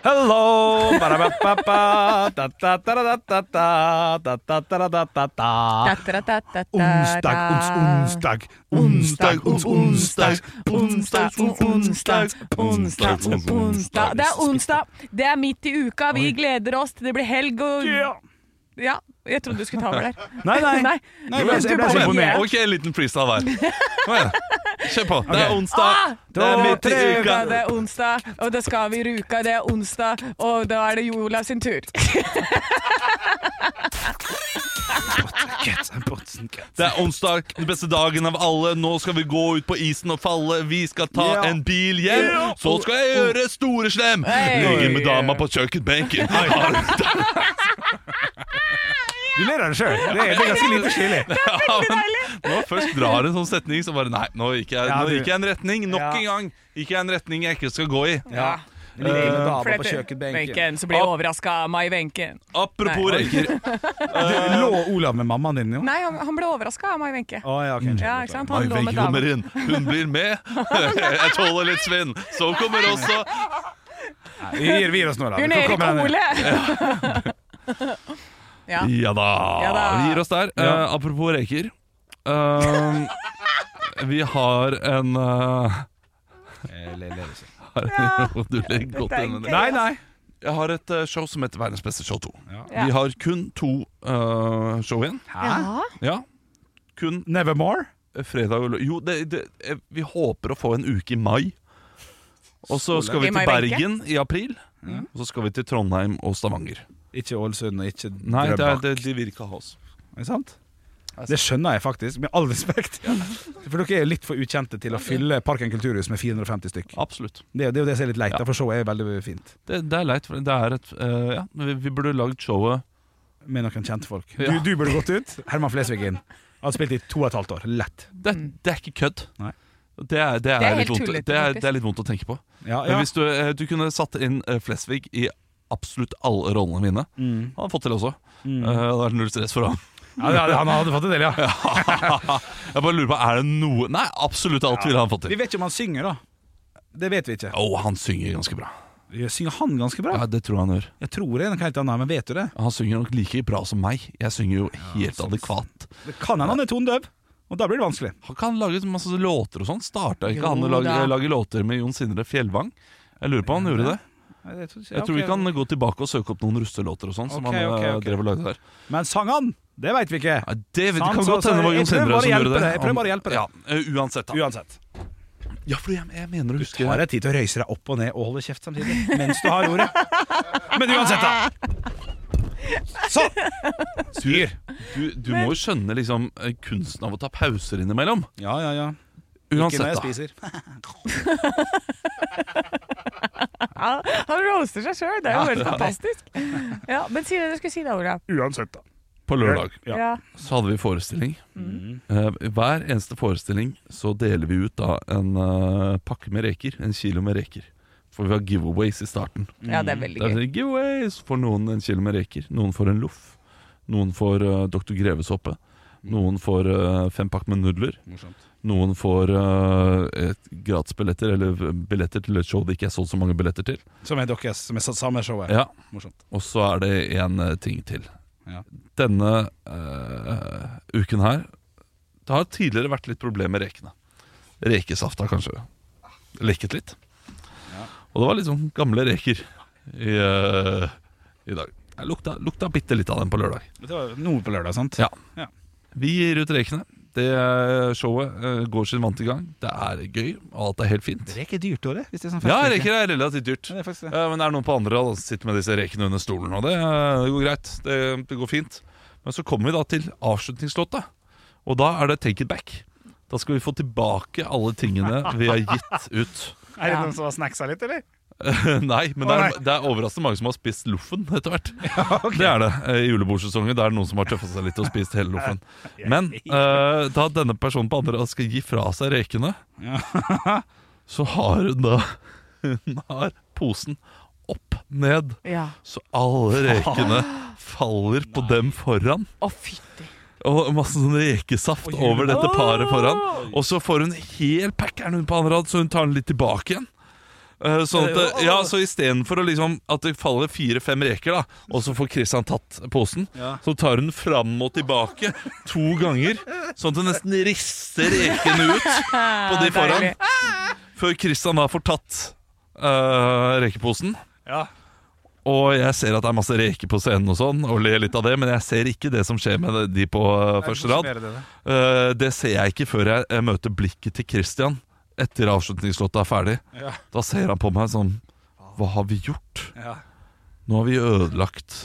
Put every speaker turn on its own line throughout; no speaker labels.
Hello! barabapapa, da-da-da-da-da-da, da-da-da-da-da-da.
Onsdag, ons, onsdag, onsdag, ons, onsdag, onsdag, ons, onsdag, onsdag, ons, onsdag. Det er onsdag, det er midt i uka, vi gleder oss til det blir helg og Ja, jeg trodde du skulle ta over der.
Nei, nei.
Nei.
jeg ble- jeg ble så
Du bare-
imponert.
Ok, en liten freestyle hver. Kom igjen. Kjør på. Det
Ok.
er onsdag,
Ah!
det er midt i
To,
uka.
Ja, det er onsdag, og da skal vi ruka, det er onsdag, og da er det Jola sin tur.
Det er onsdag, den beste dagen av alle. Nå skal vi gå ut på isen og falle. Vi skal ta
Ja.
en bil hjem.
Ja.
Så skal jeg gjøre store slem.
Hey.
Ligge med dama på kjøkkenbenken. Har du
Du ler av deg sjøl. Det, er- det er ganske lite stilig.
Ja, men Når jeg først drar en sånn setning, så bare Nei, nå gikk jeg,
Ja,
nå
du-
gikk jeg en retning. Nok
Ja.
en gang gikk jeg en retning jeg ikke skal gå i.
Ja. Lille dama på kjøkkenbenken.
Benken, så blir jeg overraska av Mai Wenche.
Apropos
Nei.
røyker.
Du lå Olav med mammaen din, jo?
Nei, han, han ble overraska av Mai Wenche.
Å, ja, ok.
Ja, ikke sant?
Mai
Han lå
Wenche
med
kommer
dama.
inn. Hun blir med. Jeg tåler litt svinn. Så kommer også
Vi gir, vi gir oss nå, da.
Bjørn
Vi får
Erik
komme
og
denne-
Ole! Ja.
Ja da.
Ja da.
Vi gir oss der. Eh,
Ja.
apropos reker. Ehm, vi har en eh, har, Du legger godt
dette er
inn med det.
Nei, nei.
Jeg har et eh, show som heter Verdens beste show 2.
Ja.
Vi har kun to eh, show igjen.
Ja.
Ja. Kun
Nevermore?
fredag og lø- Jo, det, det, eh, vi håper å få en uke i mai. Og så skal vi
I
til
mai, Wenche?
Bergen i april. Og så skal vi til Trondheim og Stavanger.
Ikke Ålesund og ikke
Nei, det er,
Drøbak.
det, de Altså- vil ikke ha oss.
Er det sant? Det skjønner jeg faktisk, med all respekt. For dere er jo litt for ukjente til å fylle Parken kulturhus med 450 stykk.
Absolutt.
Det, er jo- det er jo det som er litt leit,
Ja.
da, for showet er veldig fint.
Det, det er leit. for Det er et, eh, ja, vi, vi burde lagd showet
Med noen kjente folk.
Ja.
Du, du burde gått ut. Herman Flesvig inn. Han spilte i to og et halvt år. Lett.
Det, det er ikke kødd.
Nei.
Det er, det, er
Mm. Det er
litt
helt
vondt,
tullete,
det, er,
faktisk.
det er litt vondt å tenke på.
Ja,
Men
ja.
hvis du, eh, du kunne satt inn eh, Flesvig i absolutt alle rollene mine
Mm.
Han hadde fått til også. Eh,
Mm.
Det hadde vært null stress for ham.
ja, det hadde- han hadde fått en del, ja.
Jeg bare lurer på, er det noe Nei, absolutt alt ville han fått
Vi
til.
vet ikke om han synger, da. Det vet vi ikke.
Å, han synger ganske bra.
Synger han ganske bra?
Ja, Det tror jeg han gjør.
Jeg tror det er noe helt annet, men vet du det?
Han synger nok like bra som meg. Jeg synger jo helt adekvat.
Det kan hende han er tondøv, og da blir det vanskelig.
Han kan lage masse låter og sånn. Starta ikke
Jo
han å lage,
da.
lage låter med Jon Sindre Fjellvang? Jeg lurer på om han gjorde det.
Nei, det tror ikke-
Jeg tror
ja,
vi
ok.
kan gå tilbake og søke opp noen russelåter og sånn. som
Ok,
han
ok,
eh,
ok.
drev og lagde der
Men sang han? Det veit vi ikke.
Ja, det vet
Sant,
kan
så-
godt
så
hende det var
jeg
Jon
prøver
Sindre
bare å
som
hjelpe
gjorde det.
deg, jeg prøver bare å hjelpe deg.
Ja, eh, uansett, da.
Uansett.
Ja, for jeg, jeg mener å huske
Har jeg tid til å røyse deg opp og ned og holde kjeft samtidig mens du har ordet? Men uansett, da. Sånn! Styr.
Du, du må jo skjønne liksom eh, kunsten av å ta pauser innimellom.
Ja, ja, ja. Ikke når
Uansett,
jeg
da.
spiser.
Han, han roaster seg sjøl, det er jo helt fantastisk. Ja, men si det du skulle si da, Olav.
Uansett, da.
På lørdag
Ja.
Ja.
så hadde vi forestilling.
Mm.
Eh, hver eneste forestilling så deler vi ut da en eh, pakke med reker. En kilo med reker. For vi har giveaways i starten.
ja, det er
Det
veldig
er
gøy.
sånn giveaways For noen en kilo med reker Noen får en loff Noen får eh, Dr. Greveshoppe Noen får eh, fem pakk med nudler Noen får eh, et gratisbilletter Eller billetter til et show det ikke er solgt så mange billetter til
Som er deres, som er sa- samme showet.
Ja
Morsomt.
Og så er det en eh, ting til
Ja.
Denne eh, uken her Det har tidligere vært litt problem med rekene Rekesafta kanskje Lekket litt Og det var litt sånn gamle reker I, eh, i dag Jeg lukta, lukta bitte litt av den på lørdag
Det var noe på lørdag, sant?
Ja.
Ja.
Vi gir ut rekene. Det eh, showet eh, går sin vante gang. Det er gøy, og alt er helt fint.
Reker er dyrt, Åre. Hvis det er sånn
Ja,
fest-
reker er relativt dyrt.
Ja, det er faktisk det.
Eh, Men det er noen på andre rad som sitter med disse rekene under stolen, og det, eh, det går greit. Det, det går fint. Men så kommer vi da til avslutningslåta, og da er det Take It Back. Da skal vi få tilbake alle tingene vi har gitt ut.
Er det noen som har snacksa litt, eller?
Nei, men det
Å,
er,
nei.
det er overraskende mange som har spist loffen etter hvert. Det er det. eh, I julebordsesongen det er det noen som har tøffa seg litt og spist hele loffen. Men eh, da denne personen på andre rad skal gi fra seg rekene, så har hun da Hun har posen opp ned,
Ja.
så alle rekene faller på dem foran.
Å, fytti.
Og masse sånn rekesaft over dette paret foran. Og så får hun hel packeren hun på andre rad, så hun tar den litt tilbake igjen. Eh, Sånn at, eh, ja, så Istedenfor å liksom, at det faller fire-fem reker, da og så får Christian tatt posen, så tar hun den fram og tilbake to ganger. Sånn at hun nesten rister rekene ut på de foran.
Deilig.
Før Christian da får tatt eh, rekeposen.
Ja.
Og jeg ser at det er masse reker på scenen, og sånn Og ler litt av det men jeg ser ikke det som skjer med de på eh, første rad. Eh, det ser jeg ikke før jeg eh, møter blikket til Christian etter avslutningslåta er ferdig.
Ja.
Da ser han på meg sånn Hva har vi gjort?
Ja.
Nå har vi ødelagt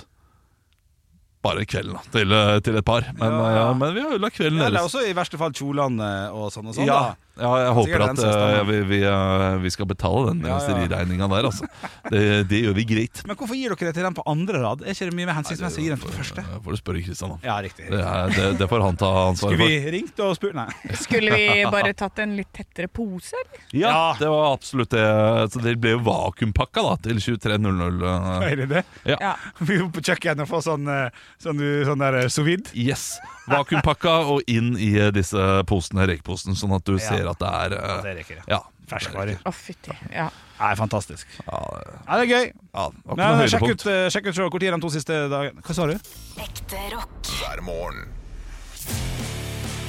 bare kvelden da, til, eh, til et par. Men,
Ja,
eh,
ja.
men vi har ødelagt kvelden
Eller
deres.
også i verste fall kjolene og sånn og sånn.
ja,
Da.
ja, jeg håper
Sikkert
at
den søsteren,
eh,
ja.
vi, vi, eh, vi skal betale den
Ja, ja.
raseriregninga der, altså. Det, det gjør vi greit.
Men hvorfor gir dere det til den på andre rad? Er ikke det mye mer hensiktsmessig å gi den på første?
Det Eh, får du spørre Christian om.
Ja, riktig.
Det, er- det, det får han ta ansvaret
Skulle
for.
vi ringt og spurt? Nei.
Skulle vi bare tatt en litt tettere pose, eller?
Ja,
Ja.
det var absolutt det. Så det ble jo vakuumpakka da til 23.00. eh,
Er det det?
Ja.
Vi må på kjøkkenet og få sånn, eh, sånn, du- sånn der eh, sous vide.
Yes, Vakuumpakka og inn i eh, disse posene, rekeposen, sånn at du ser at det er eh,
Det rekker jeg.
Ja.
Ferskvarer.
Å, fytti. Ja.
Nei, fantastisk.
Ja,
Nei, det er gøy.
ja, det var ikke
Nei,
noe
nei, sjekk
høydepunkt.
ut, eh, sjekk ut showet. Hvor tid er de to siste dagene? Hva sa du?
Ekte rock.
hver morgen.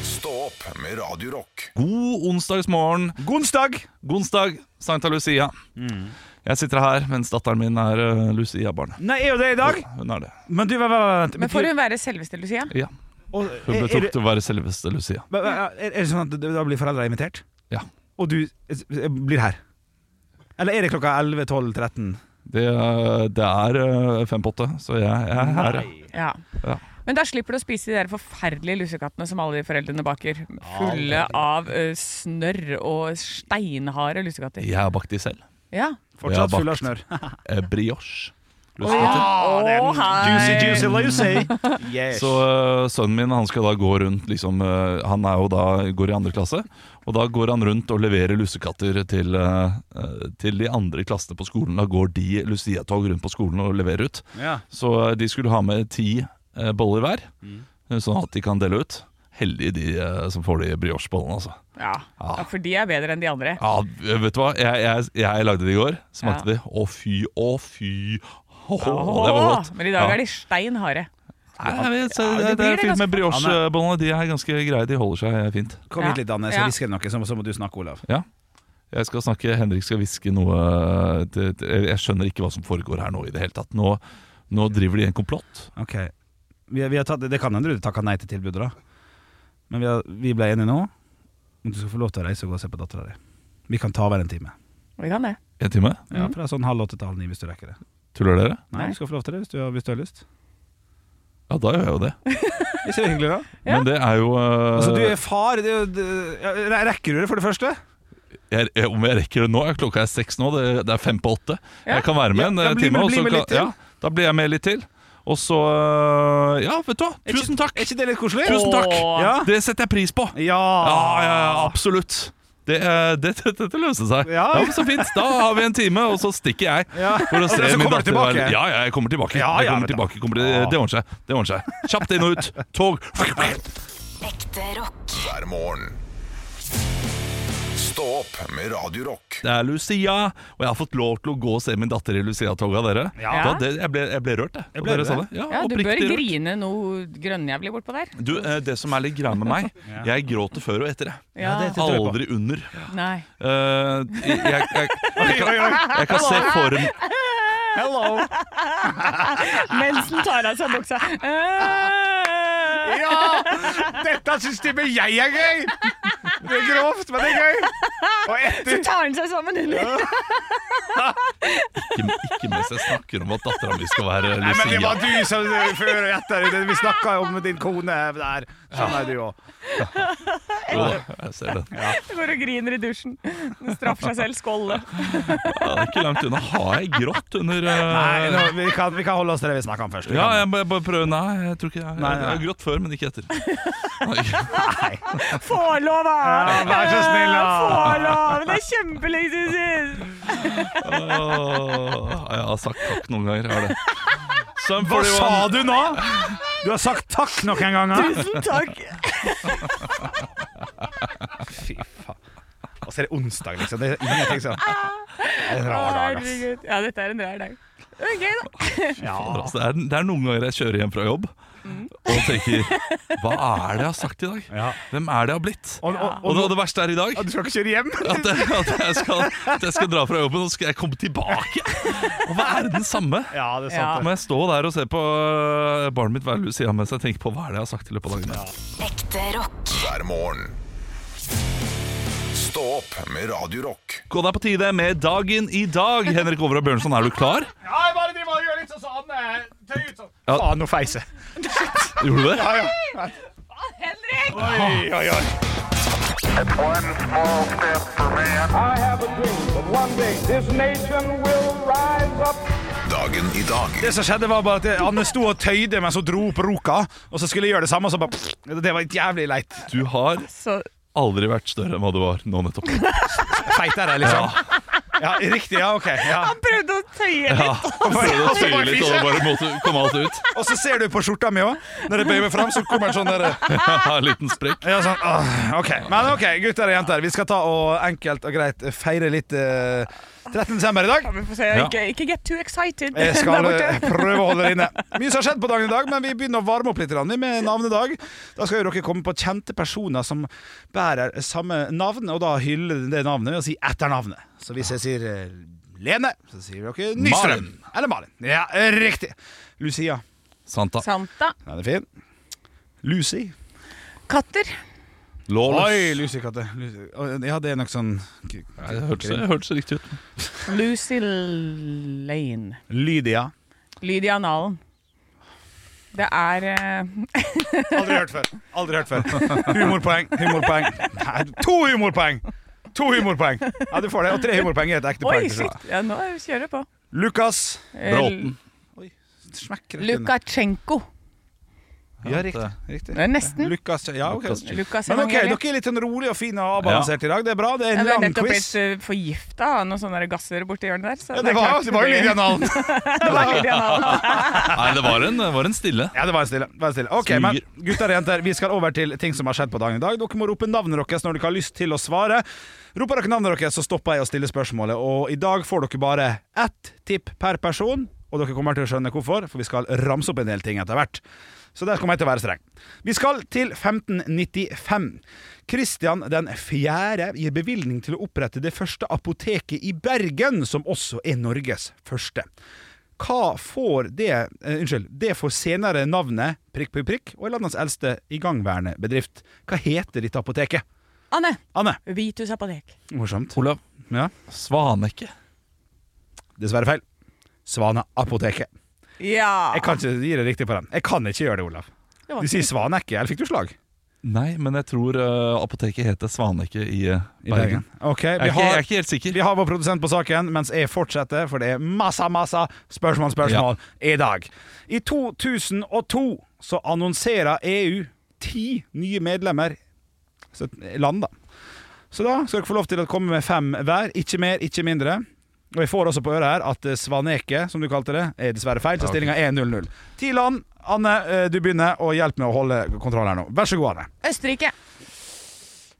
Stå opp med Radio Rock.
God onsdagsmorgen.
Onsdag!
God onsdag, Sankta Lucia.
Mm.
Jeg sitter her mens datteren min er eh, Lucia-barn.
Nei, er jo det i dag?
Hun er det.
Men du, vent, vent, vent.
Men får hun være selveste, Lucia?
Ja.
Og, eh,
Hun ble
er, er,
trukket til å være selveste Lucia.
er, er det sånn at det- da blir foreldra invitert?
Ja.
Og du eh, blir her? Eller er det klokka 11, 12, 13?
Det, eh, det er eh, fem på åtte, så jeg, jeg er her. ja.
Ja.
Ja.
Men da slipper du å spise de der forferdelige lussekattene som alle de foreldrene baker. Fulle av ø, snørr og steinharde lussekatter.
Jeg har bakt de selv.
Ja.
Ja,
Fortsatt
bakt.
full av snørr.
Eh, Brioche.
Å, hei!
lucy. Yes.
Så øh, sønnen min han skal da gå rundt liksom, øh, Han er jo da, går i andre klasse Og da går han rundt og leverer lussekatter til, øh, øh, til de andre klassene på skolen Da går de lucia-tog rundt på skolen og leverer ut
ja.
Så øh, de skulle ha med ti øh, boller hver
Mm.
øh, Sånn at de kan dele ut Heldige de øh, som får de brioche-bollene altså.
Ja. ja, for de er bedre enn de andre.
Ja, eh, vet du hva? Jeg, jeg, jeg lagde det i går Smakte
Ja.
de Å fy, å fy Åh, det var godt
Men i dag
Ja.
er de steinharde.
Nei, jeg vet, så
Ja,
det,
det
det er
blir det
fint med
ganske-
brioche-bollene. De er ganske greie, de holder seg fint.
Kom
Ja.
hit litt, Anne, så
Ja.
hvisker jeg noe, så må- så må du snakke, Olav.
Jeg skal snakke, Henrik skal hviske noe eh, det, det, Jeg skjønner ikke hva som foregår her nå i det hele tatt. Nå, nå driver de en komplott.
Ok. Vi, vi har tatt, det kan hende du takka nei til tilbudet, da. Men vi, har, vi ble enige nå om du skal få lov til å reise og gå og se på dattera di. Vi kan ta hver en time.
Vi kan det.
En time?
Ja, Fra sånn halv åtte til halv ni, hvis du rekker det.
Tuller dere?
Nei,
Nei.
du skal få lov til det hvis du, har- hvis du har lyst.
Ja, da gjør jeg jo det.
Det ser hyggelig da
Ja.
Men det er jo eh,
Altså, du er far. Det, er jo- det, ja, re- rekker du det, for det første?
jeg, jeg- Om jeg rekker det nå? ja, Klokka er seks nå, det, det er fem på åtte.
Ja.
Jeg kan være med en
Ja, da
eh,
blir
time.
med-
og
bli
så
med
kan-
litt til.
Ja, da blir jeg med litt til. Og så eh, Ja, vet du hva. Tusen
Er
takk!
ikke det litt koselig?
Tusen takk!
Åh.
Ja.
Det setter jeg pris på. Ja, ja, ja, absolutt. Det, eh, det, det, dette løser seg. Ja.
Ah. Ja.
men Så fint. Da har vi en time, og så stikker jeg.
Ja.
For å
Og
se
så
min
kommer du
datter være-
tilbake?
Ja, ja, jeg kommer tilbake.
Ja, Ah.
jeg
ja,
kommer
vet du.
tilbake. Kommer til, det ordner seg. Det ordner seg. Kjapt inn og ut. Tog.
Ekte rock.
hver morgen. Stå opp med Radio Rock
Det er Lucia, og jeg har fått lov til å gå og se min datter i Lucia-toget av dere.
Ja.
Da, det, jeg, ble, jeg ble rørt, jeg.
Jeg ble
Dere
det.
sa Ja,
Ja, du bør
oppriktig rørt.
grine noe grønnjævlig bortpå der.
Du, eh, det som er litt greia med meg, jeg gråter før og etter. jeg.
Ja,
det- tror jeg på.
Aldri under.
Nei.
Eh, jeg, jeg, jeg, jeg, kan, jeg kan se for meg
Hello.
Mens den tar av seg buksa. Eh.
Ja! Dette syns til og med jeg er gøy! Det er grovt, men det er gøy. Og etter
tar den seg sammen under.
ikke, ikke mens jeg snakker om at dattera mi skal være
Nei, men det
Lucia.
var du som før og etter. Vi snakka om din kone der. Sånn er du òg.
Jo, jeg ser den.
Går og griner i dusjen. Straffer seg selv. Skålle.
Ja, det er ikke langt unna. Har jeg grått under eh,
Nei, nå, vi, kan, vi kan holde oss til det vi snakka om først. Vi
Ja,
kan-
jeg må bare prøve. Nei, jeg tror ikke jeg,
Nei,
jeg, jeg har
nei.
grått før, men ikke etter. Nei.
Få lov, da!
Ja, vær så snill, da.
Få lov! Det er kjempelenge siden sist!
Åh, jeg har sagt takk noen ganger. Jeg har det. Sum
Hva
41.
sa du nå?! Du har sagt takk noen ganger.
Tusen takk!
Fy faen. Og så er det onsdag, liksom. Det er ingenting sånn. Det er en rar dag, ass.
Herregud. Ja, dette er en rar dag. Det er gøy, da.
Fader,
Ja.
altså, det, er, det er noen ganger jeg kjører hjem fra jobb
Mhm.
og tenker Hva er det jeg har sagt i dag?
Ja.
Hvem er det jeg har blitt?
Og, og,
Og
og,
det, det verste er i dag
du skal ikke kjøre hjem?
at jeg, at, jeg skal, at jeg skal dra fra jobben, og så skal jeg komme tilbake og være den samme.
Ja, det er
Så
sant.
må jeg stå der og se på øh, barnet mitt hver Lucia mens jeg tenker på hva er det jeg har sagt i løpet av dagen.
Ekte rock.
hver morgen. Stå opp med Radio Rock.
Gå deg på tide med dagen i dag. Henrik Over og Bjørnson, er du klar?
Ja, jeg bare driver og gjør litt sånn som Anne. Tøy ut sånn.
Ja.
Faen, nå feis jeg.
Gjorde du det?
Ja, ja.
Henrik!
Oi, oi, oi.
One small step for man. I have a dream that one day this nation will rise up.
Dagen i dag
Det som skjedde var bare at Anne sto og tøyde mens hun dro opp roka, og så skulle jeg gjøre det samme, og så bare Det var jævlig leit.
Du har
Så
aldri vært større enn hva du var nå nettopp.
Feitere, liksom. Ja, riktig. Ja, OK. Ja.
prøvde å tøye litt.
Så det tøyer litt, og det bare måtte komme alt ut.
Og så ser du på skjorta mi òg. Når jeg bøyer meg fram, så kommer en sånn derre
Ja, en liten sprekk.
ja, sånn, åh, OK. Men OK, gutter og jenter. Vi skal ta og enkelt og greit feire litt eh, 13. desember i dag.
Ja, men få se.
Ja.
Ikke, ikke get too excited.
Jeg skal
Der borte.
eh, prøve å holde det inne. Mye som har skjedd på dagen i dag, men vi begynner å varme opp litt grann med navnedag. Da skal jo dere komme på kjente personer som bærer samme navn, og da hylle det navnet og si etternavnet. Så hvis jeg sier eh, Lene, så sier dere Nystrøm.
Malin.
Eller Malin. Ja, eh, riktig. Lucia.
Santa.
Santa.
Den er fin. Lucy.
Katter.
Oi,
Lawless.
Lucy Katte. Lucy. Å, Ja, det er nok sånn k-
Ja, Det hørtes det hørtes riktig ut.
Lucy Lane.
Lydia.
Lydia Nalen. Det er eh,
Aldri hørt før. Aldri hørt før. Humorpoeng, humorpoeng. Nei, to humorpoeng! To humorpoeng. Ja, du får det. Og tre humorpoeng er et ekte
Oi,
poeng. til
shit!
slutt.
Ja, nå kjører jeg på. Eh,
Lukas.
Bråten.
Smekk rett inn.
Lukasjenko.
Ja, riktig. riktig.
Det er nesten.
Lukas, ja, ok.
Lukas.
Lukas
Men ok,
Evangeliet.
Dere er litt sånn rolig og fine og avbalansert i dag. Det er bra. Det er
Ja,
en
det er
lang
nettopp
quiz.
blitt eh, forgifta av noen sånne gasser borti hjørnet der. Så
Ja, det, var, det var jo Lydia Nalen.
Det var Lydia Nalen.
Nei, det var en, det var en stille.
Ja, det var en stille. Var en stille. Ok,
Smyger.
men gutter og jenter, vi skal over til ting som har skjedd på dagen i dag. Dere må rope navnet deres når dere har lyst til å svare. Roper dere navnet deres, så stopper jeg å stille spørsmålet. Og i dag får dere bare ett tipp per person, og dere kommer til å skjønne hvorfor, for vi skal ramse opp en del ting etter hvert. Så der kommer jeg til å være streng. Vi skal til 1595. Kristian den fjerde gir bevilgning til å opprette det første apoteket i Bergen, som også er Norges første. Hva får det eh, Unnskyld, det får senere navnet prikk, prikk, prikk og er landets eldste igangværende bedrift. Hva heter dette apoteket?
Anne.
Anne.
Vitus apotek.
Morsomt.
Olav.
Ja,
Svanekke.
Dessverre feil. Svaneapoteket.
Ja.
Jeg kan ikke gi deg riktig på den. Jeg kan ikke gjøre det, Olav.
Det var
Du sier Svanekke, eller fikk du slag?
Nei, men jeg tror eh, apoteket heter Svanekke i, eh,
I
Bergen.
Bergen. Ok,
Jeg er,
vi
ikke, jeg er
har,
ikke helt sikker.
vi har vår produsent på saken, mens jeg fortsetter, for det er masse, masse spørsmål, spørsmål i dag. I 2002 så annonserer EU ti nye medlemmer så, eh, land, da. Så da skal dere få lov til å komme med fem hver. Ikke mer, ikke mindre. Og jeg får også på øret her at eh, Svaneke, som du kalte det, er dessverre feil, så stillinga er 0-0. Ti land. Anne, eh, du begynner, og hjelp med å holde kontroll her nå. Vær så god, Anne.
Østerrike.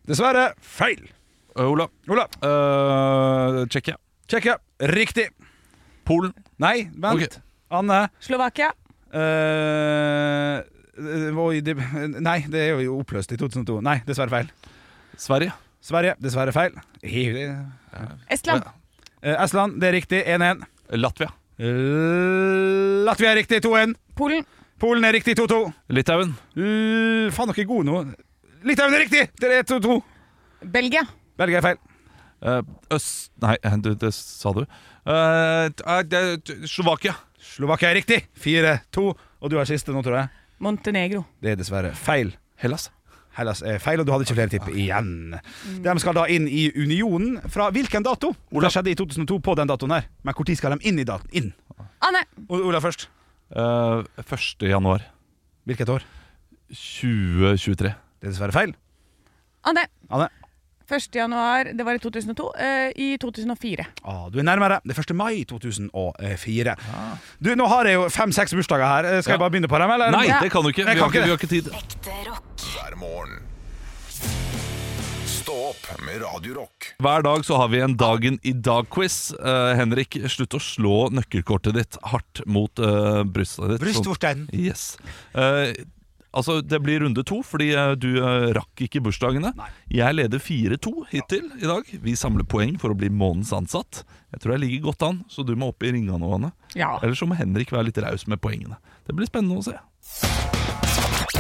Dessverre feil.
Eh, Olav.
Olav. eh,
Uh, Tsjekkia.
Tsjekkia. Riktig.
Polen.
Nei, vent.
Ok.
Anne.
Slovakia.
eh, eh, oi, det, nei, det er jo oppløst i 2002. Nei, dessverre feil.
Sverige.
Sverige, dessverre feil. Eh,
Estland.
Estland, det er riktig. 1-1.
Latvia.
Latvia er riktig 2-1.
Polen.
Polen er riktig 2-2.
Litauen.
L- Faen, dere er gode nå. Litauen er riktig! Dere er 2-2.
Belgia.
Belgia er feil.
Eh, Eh, Øst... Nei, du, det sa du. Eh, eh, det- Slovakia.
Slovakia er riktig! 4-2. Og du er siste nå, tror jeg.
Montenegro.
Det er dessverre feil.
Hellas.
Hellas er feil, og du hadde ikke flere tipp igjen. De skal da inn i unionen fra hvilken dato?
Olav.
Det skjedde i 2002 på den datoen her. Men når skal de inn i daten? Inn.
Ah, nei.
O- Olav først.
Eh, 1. januar
Hvilket år?
2023.
Det er dessverre feil.
Ah, nei.
Anne?
1. januar, det var i 2002. eh, I 2004.
Ah, du er nærmere. Det er 1. mai 2004. Du, Nå har jeg jo fem-seks bursdager her. Eh, Skal jeg
Ja.
bare begynne på dem? eller?
Nei,
Ja.
det kan du ikke.
Nei,
Vi
kan
har ikke,
ikke
vi har ikke tid.
Ekte rock.
hver morgen. Stå opp med Radio Rock.
Hver dag så har vi en Dagen i dag-quiz. Eh, Henrik, slutt å slå nøkkelkortet ditt hardt mot eh, brystet ditt. Sånn-
Brystvorten.
Yes. Eh, altså, det blir runde to, fordi eh, du eh, rakk ikke bursdagene. Jeg leder 4-2 hittil i dag. Vi samler poeng for å bli månedens ansatt. Jeg tror jeg ligger godt an, så du må opp i ringa nå, Anne.
Ja.
Eller så må Henrik være litt raus med poengene. Det blir spennende å se.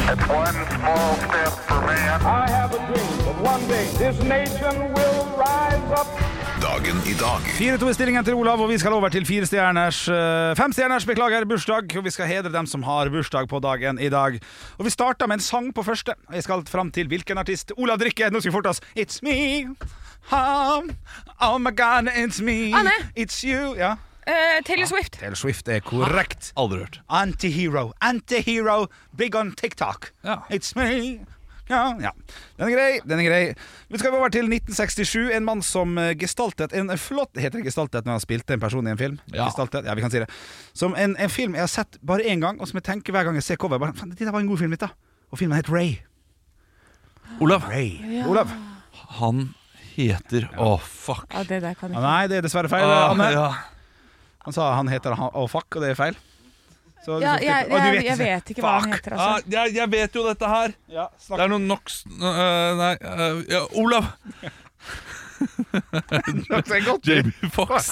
It's one small step for man.
I have a dream that one day this nation will rise up.
Dagen i dag
4-2 i stillingen til Olav, og vi skal over til firestjerners eh, Femstjerners, beklager, bursdag. Og vi skal hedre dem som har bursdag på dagen i dag. Og vi starter med en sang på første. Jeg skal fram til hvilken artist Olav drikker. Nå skal vi forte oss. It's me. Um, oh my god, it's me.
Anne.
It's you. Ja.
Eh, Taylor Swift.
Ah, Taylor Swift er korrekt.
Aldri hørt.
Antihero. Antihero. Big on TikTok.
Ja.
It's me. Ja, ja. Den er grei. den er grei Vi skal over til 1967. En mann som eh, gestaltet en flott Heter det gestaltet når han spilte en person i en film?
Ja.
Gestaltet, ja vi kan si det Som en, en film jeg har sett bare én gang, og som jeg tenker hver gang jeg ser cover. Bare, "Fan, det der var en god film litt da Og filmen het Ray.
Olav,
Ray. Olav.
han heter Å, fuck.
Ja, det der kan
Ah,
jeg ikke.
Nei, det er dessverre feil.
Ah,
Anne.
ja.
Han sa han heter han, Å, fuck, og det er feil. Så,
Ja,
du-
jeg,
og du
jeg, jeg
ikke-
vet ikke hva han
Fuck.
heter,
ah,
altså.
jeg, jeg vet jo dette her.
Ja, snakk
Det er noe NOx Nei, eh, ja, Olav!
det er godt.
Jamie Fox.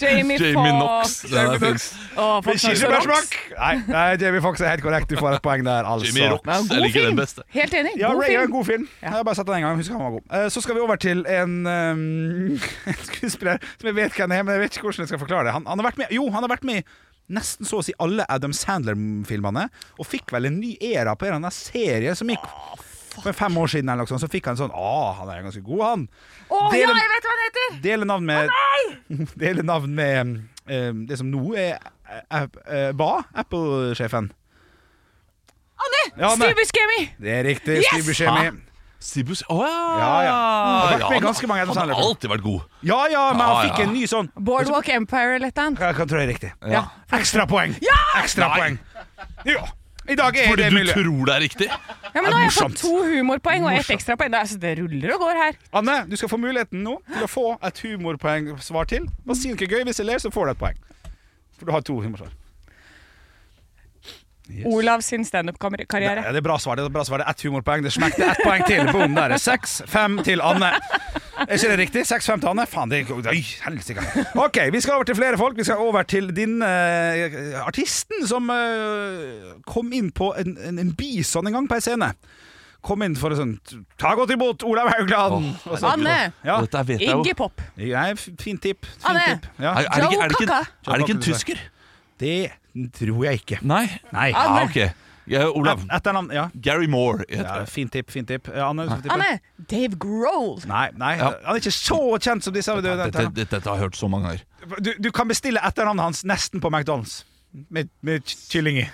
Jamie
Jamie Knox.
Fox.
Den er fin.
Å, for
Ikke
Knox.
bæsjmakk! Nei, nei, Jamie Fox er helt korrekt. Du får et poeng der, altså.
Jamie Rocks. Jeg
Men god
liker den
film.
beste.
Helt enig.
Ja,
God
Ray er en
film.
god film. Jeg har bare sett den en gang. Husker han var god. Eh, Så skal vi over til en, ehm, en skuespiller som jeg vet hvem er, men jeg vet ikke hvordan jeg skal forklare det. Han, han har vært med, jo, han har vært med i nesten så å si alle Adam Sandler-filmene, og fikk vel en ny æra på en eller annen serie som gikk
Ah,
for fem år siden, eller noe sånt. Så fikk han sånn Å, han er ganske god, han.
Å ja,
Delen-
jeg vet hva han heter!
Dele navn med Dele navn med ehm, det som nå er App- eh, Hva? Apple-sjefen.
Anne!
Ja, Anne.
Steve Buscemi!
Det er riktig.
Yes!
Steve Buscemi.
Sibus Å ja!
Ja, ja.
Ah.
Han har vært med i
han-
ganske mange
Han
Adam
har
Sandler-filmer.
alltid vært god.
Ja, ja, men han
Ja,
fikk
ja.
en ny sånn
Boardwalk Empire eller et eller annet.
Jeg kan tro det er riktig.
Ja.
Ekstrapoeng! Ja! Ekstrapoeng. Ja. I dag er
Fordi
det
du
mulig.
tror det er riktig?
Ja, men nå har jeg
morsomt.
fått to humorpoeng og ett ekstrapoeng. Det er- altså, Det ruller og går her.
Anne, du skal få muligheten nå til å få et humorpoeng svar til. Og si noe gøy. Hvis jeg ler, så får du et poeng. For du har to humorsvar.
Olav sin
Det,
standup-karriere.
ja, det er bra svar. Det er bra svar. Det er ett humorpoeng. Det smekte ett poeng til. Boom, der. Seks-fem til Anne. Er ikke det riktig? Seks-fem til Anne? Faen, det er Oi, helsike. OK, vi skal over til flere folk. Vi skal over til din eh, artisten som eh, kom inn på en, en, en bison en gang på en scene. Kom inn for å sånn Ta godt imot Olav Haugland!
Åh,
Og så-
Anne!
Ja,
Dette vet jeg Sånn, jo.
Iggy Pop.
Nei, fint tipp. Fint
Anne.
tipp. Ja.
Er, er, det ikke, er, det ikke,
Joe
er det ikke en tysker?
Det tror jeg ikke.
Nei.
Nei.
Ah, ok. Ja, Olav.
Etternavn. Ja.
Gary Moore.
ja.
heter det.
Fint tipp, fint tipp. Ja, Anne, du skal tippe.
Anne! Dave Grohl.
Nei, nei
Ja.
han er ikke så kjent som disse. Du,
Dette, dette, dette har jeg hørt så mange ganger.
du, du kan bestille etternavnet hans nesten på McDonald's. Med, med ky- kylling i.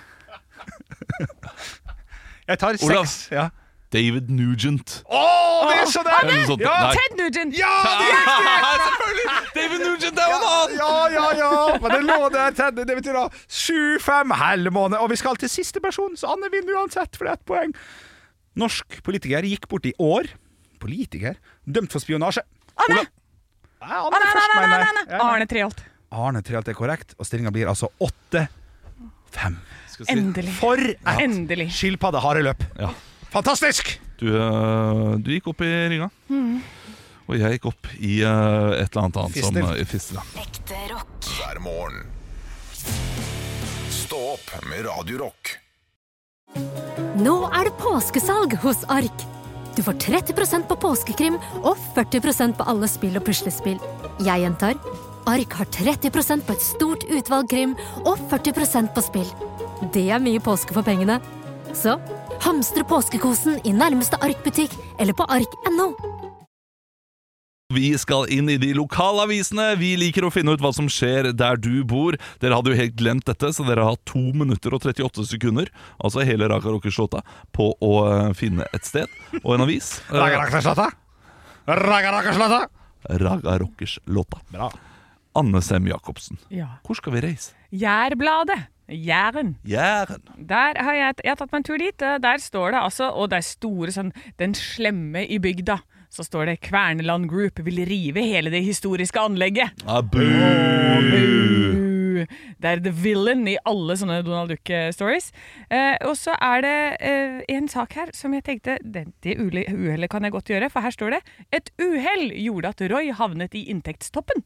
Jeg tar seks.
Olav.
Ja.
David Nugent.
Å, det er så der!
Eller noe sånt.
Ja,
Nei.
Ted Nugent.
Ja, det er riktig!
Selvfølgelig! David Nugent er jo en annen!
Ja, ja, ja. Men det lå der. Ted. Det betyr da sju-fem halv måned. Og vi skal til siste person, så Anne vinner uansett, for det er ett poeng. Norsk politiker gikk bort i år. Politiker? Dømt for spionasje.
Anne!
Nei, Anne,
Anne,
først, mener
Anne, Anne,
jeg.
Anne,
Ja,
Anne. Arne Treholt.
Arne Treholt er korrekt, og stillinga blir altså 8-5.
Endelig.
For et
Endelig.
skilpaddehareløp!
Ja.
Fantastisk!
Du, eh, du gikk opp i ringa. Og jeg gikk opp i eh, et eller annet annet
Fistel.
som eh, fistel. ja.
Ekte rock.
hver morgen. Stå opp med Radio Rock.
Nå er det påskesalg hos Ark. Du får 30 på påskekrim og 40 på alle spill og puslespill. Jeg gjentar Ark har 30 på et stort utvalg krim og 40 på spill. Det er mye påske for pengene. Så hamstre påskekosen i nærmeste Ark-butikk eller på ark.no.
Vi skal inn i de lokalavisene. Vi liker å finne ut hva som skjer der du bor. Dere hadde jo helt glemt dette, så dere har 2 minutter og 38 sekunder, altså hele Raka Rockeslåta, på å eh, finne et sted og en avis. Eh,
Ragarakaslata. Ragarakaslata.
Raga Rockers-låta.
Bra.
Eh, Anne Sem Jacobsen,
Ja.
hvor skal vi reise?
Jærbladet. Jæren.
Jæren.
Der har jeg, jeg har tatt meg en tur dit. eh, Der står det altså, og det er store sånn Den slemme i bygda. Så står det Kverneland Group vil rive hele det historiske anlegget.
Ah, Abu!
Uh, Det er the villain i alle sånne Donald Duck-stories. Eh, og så er det eh, en sak her som jeg tenkte det, det ule- uhellet kan jeg godt gjøre, for her står det Et uhell gjorde at Roy havnet i inntektstoppen.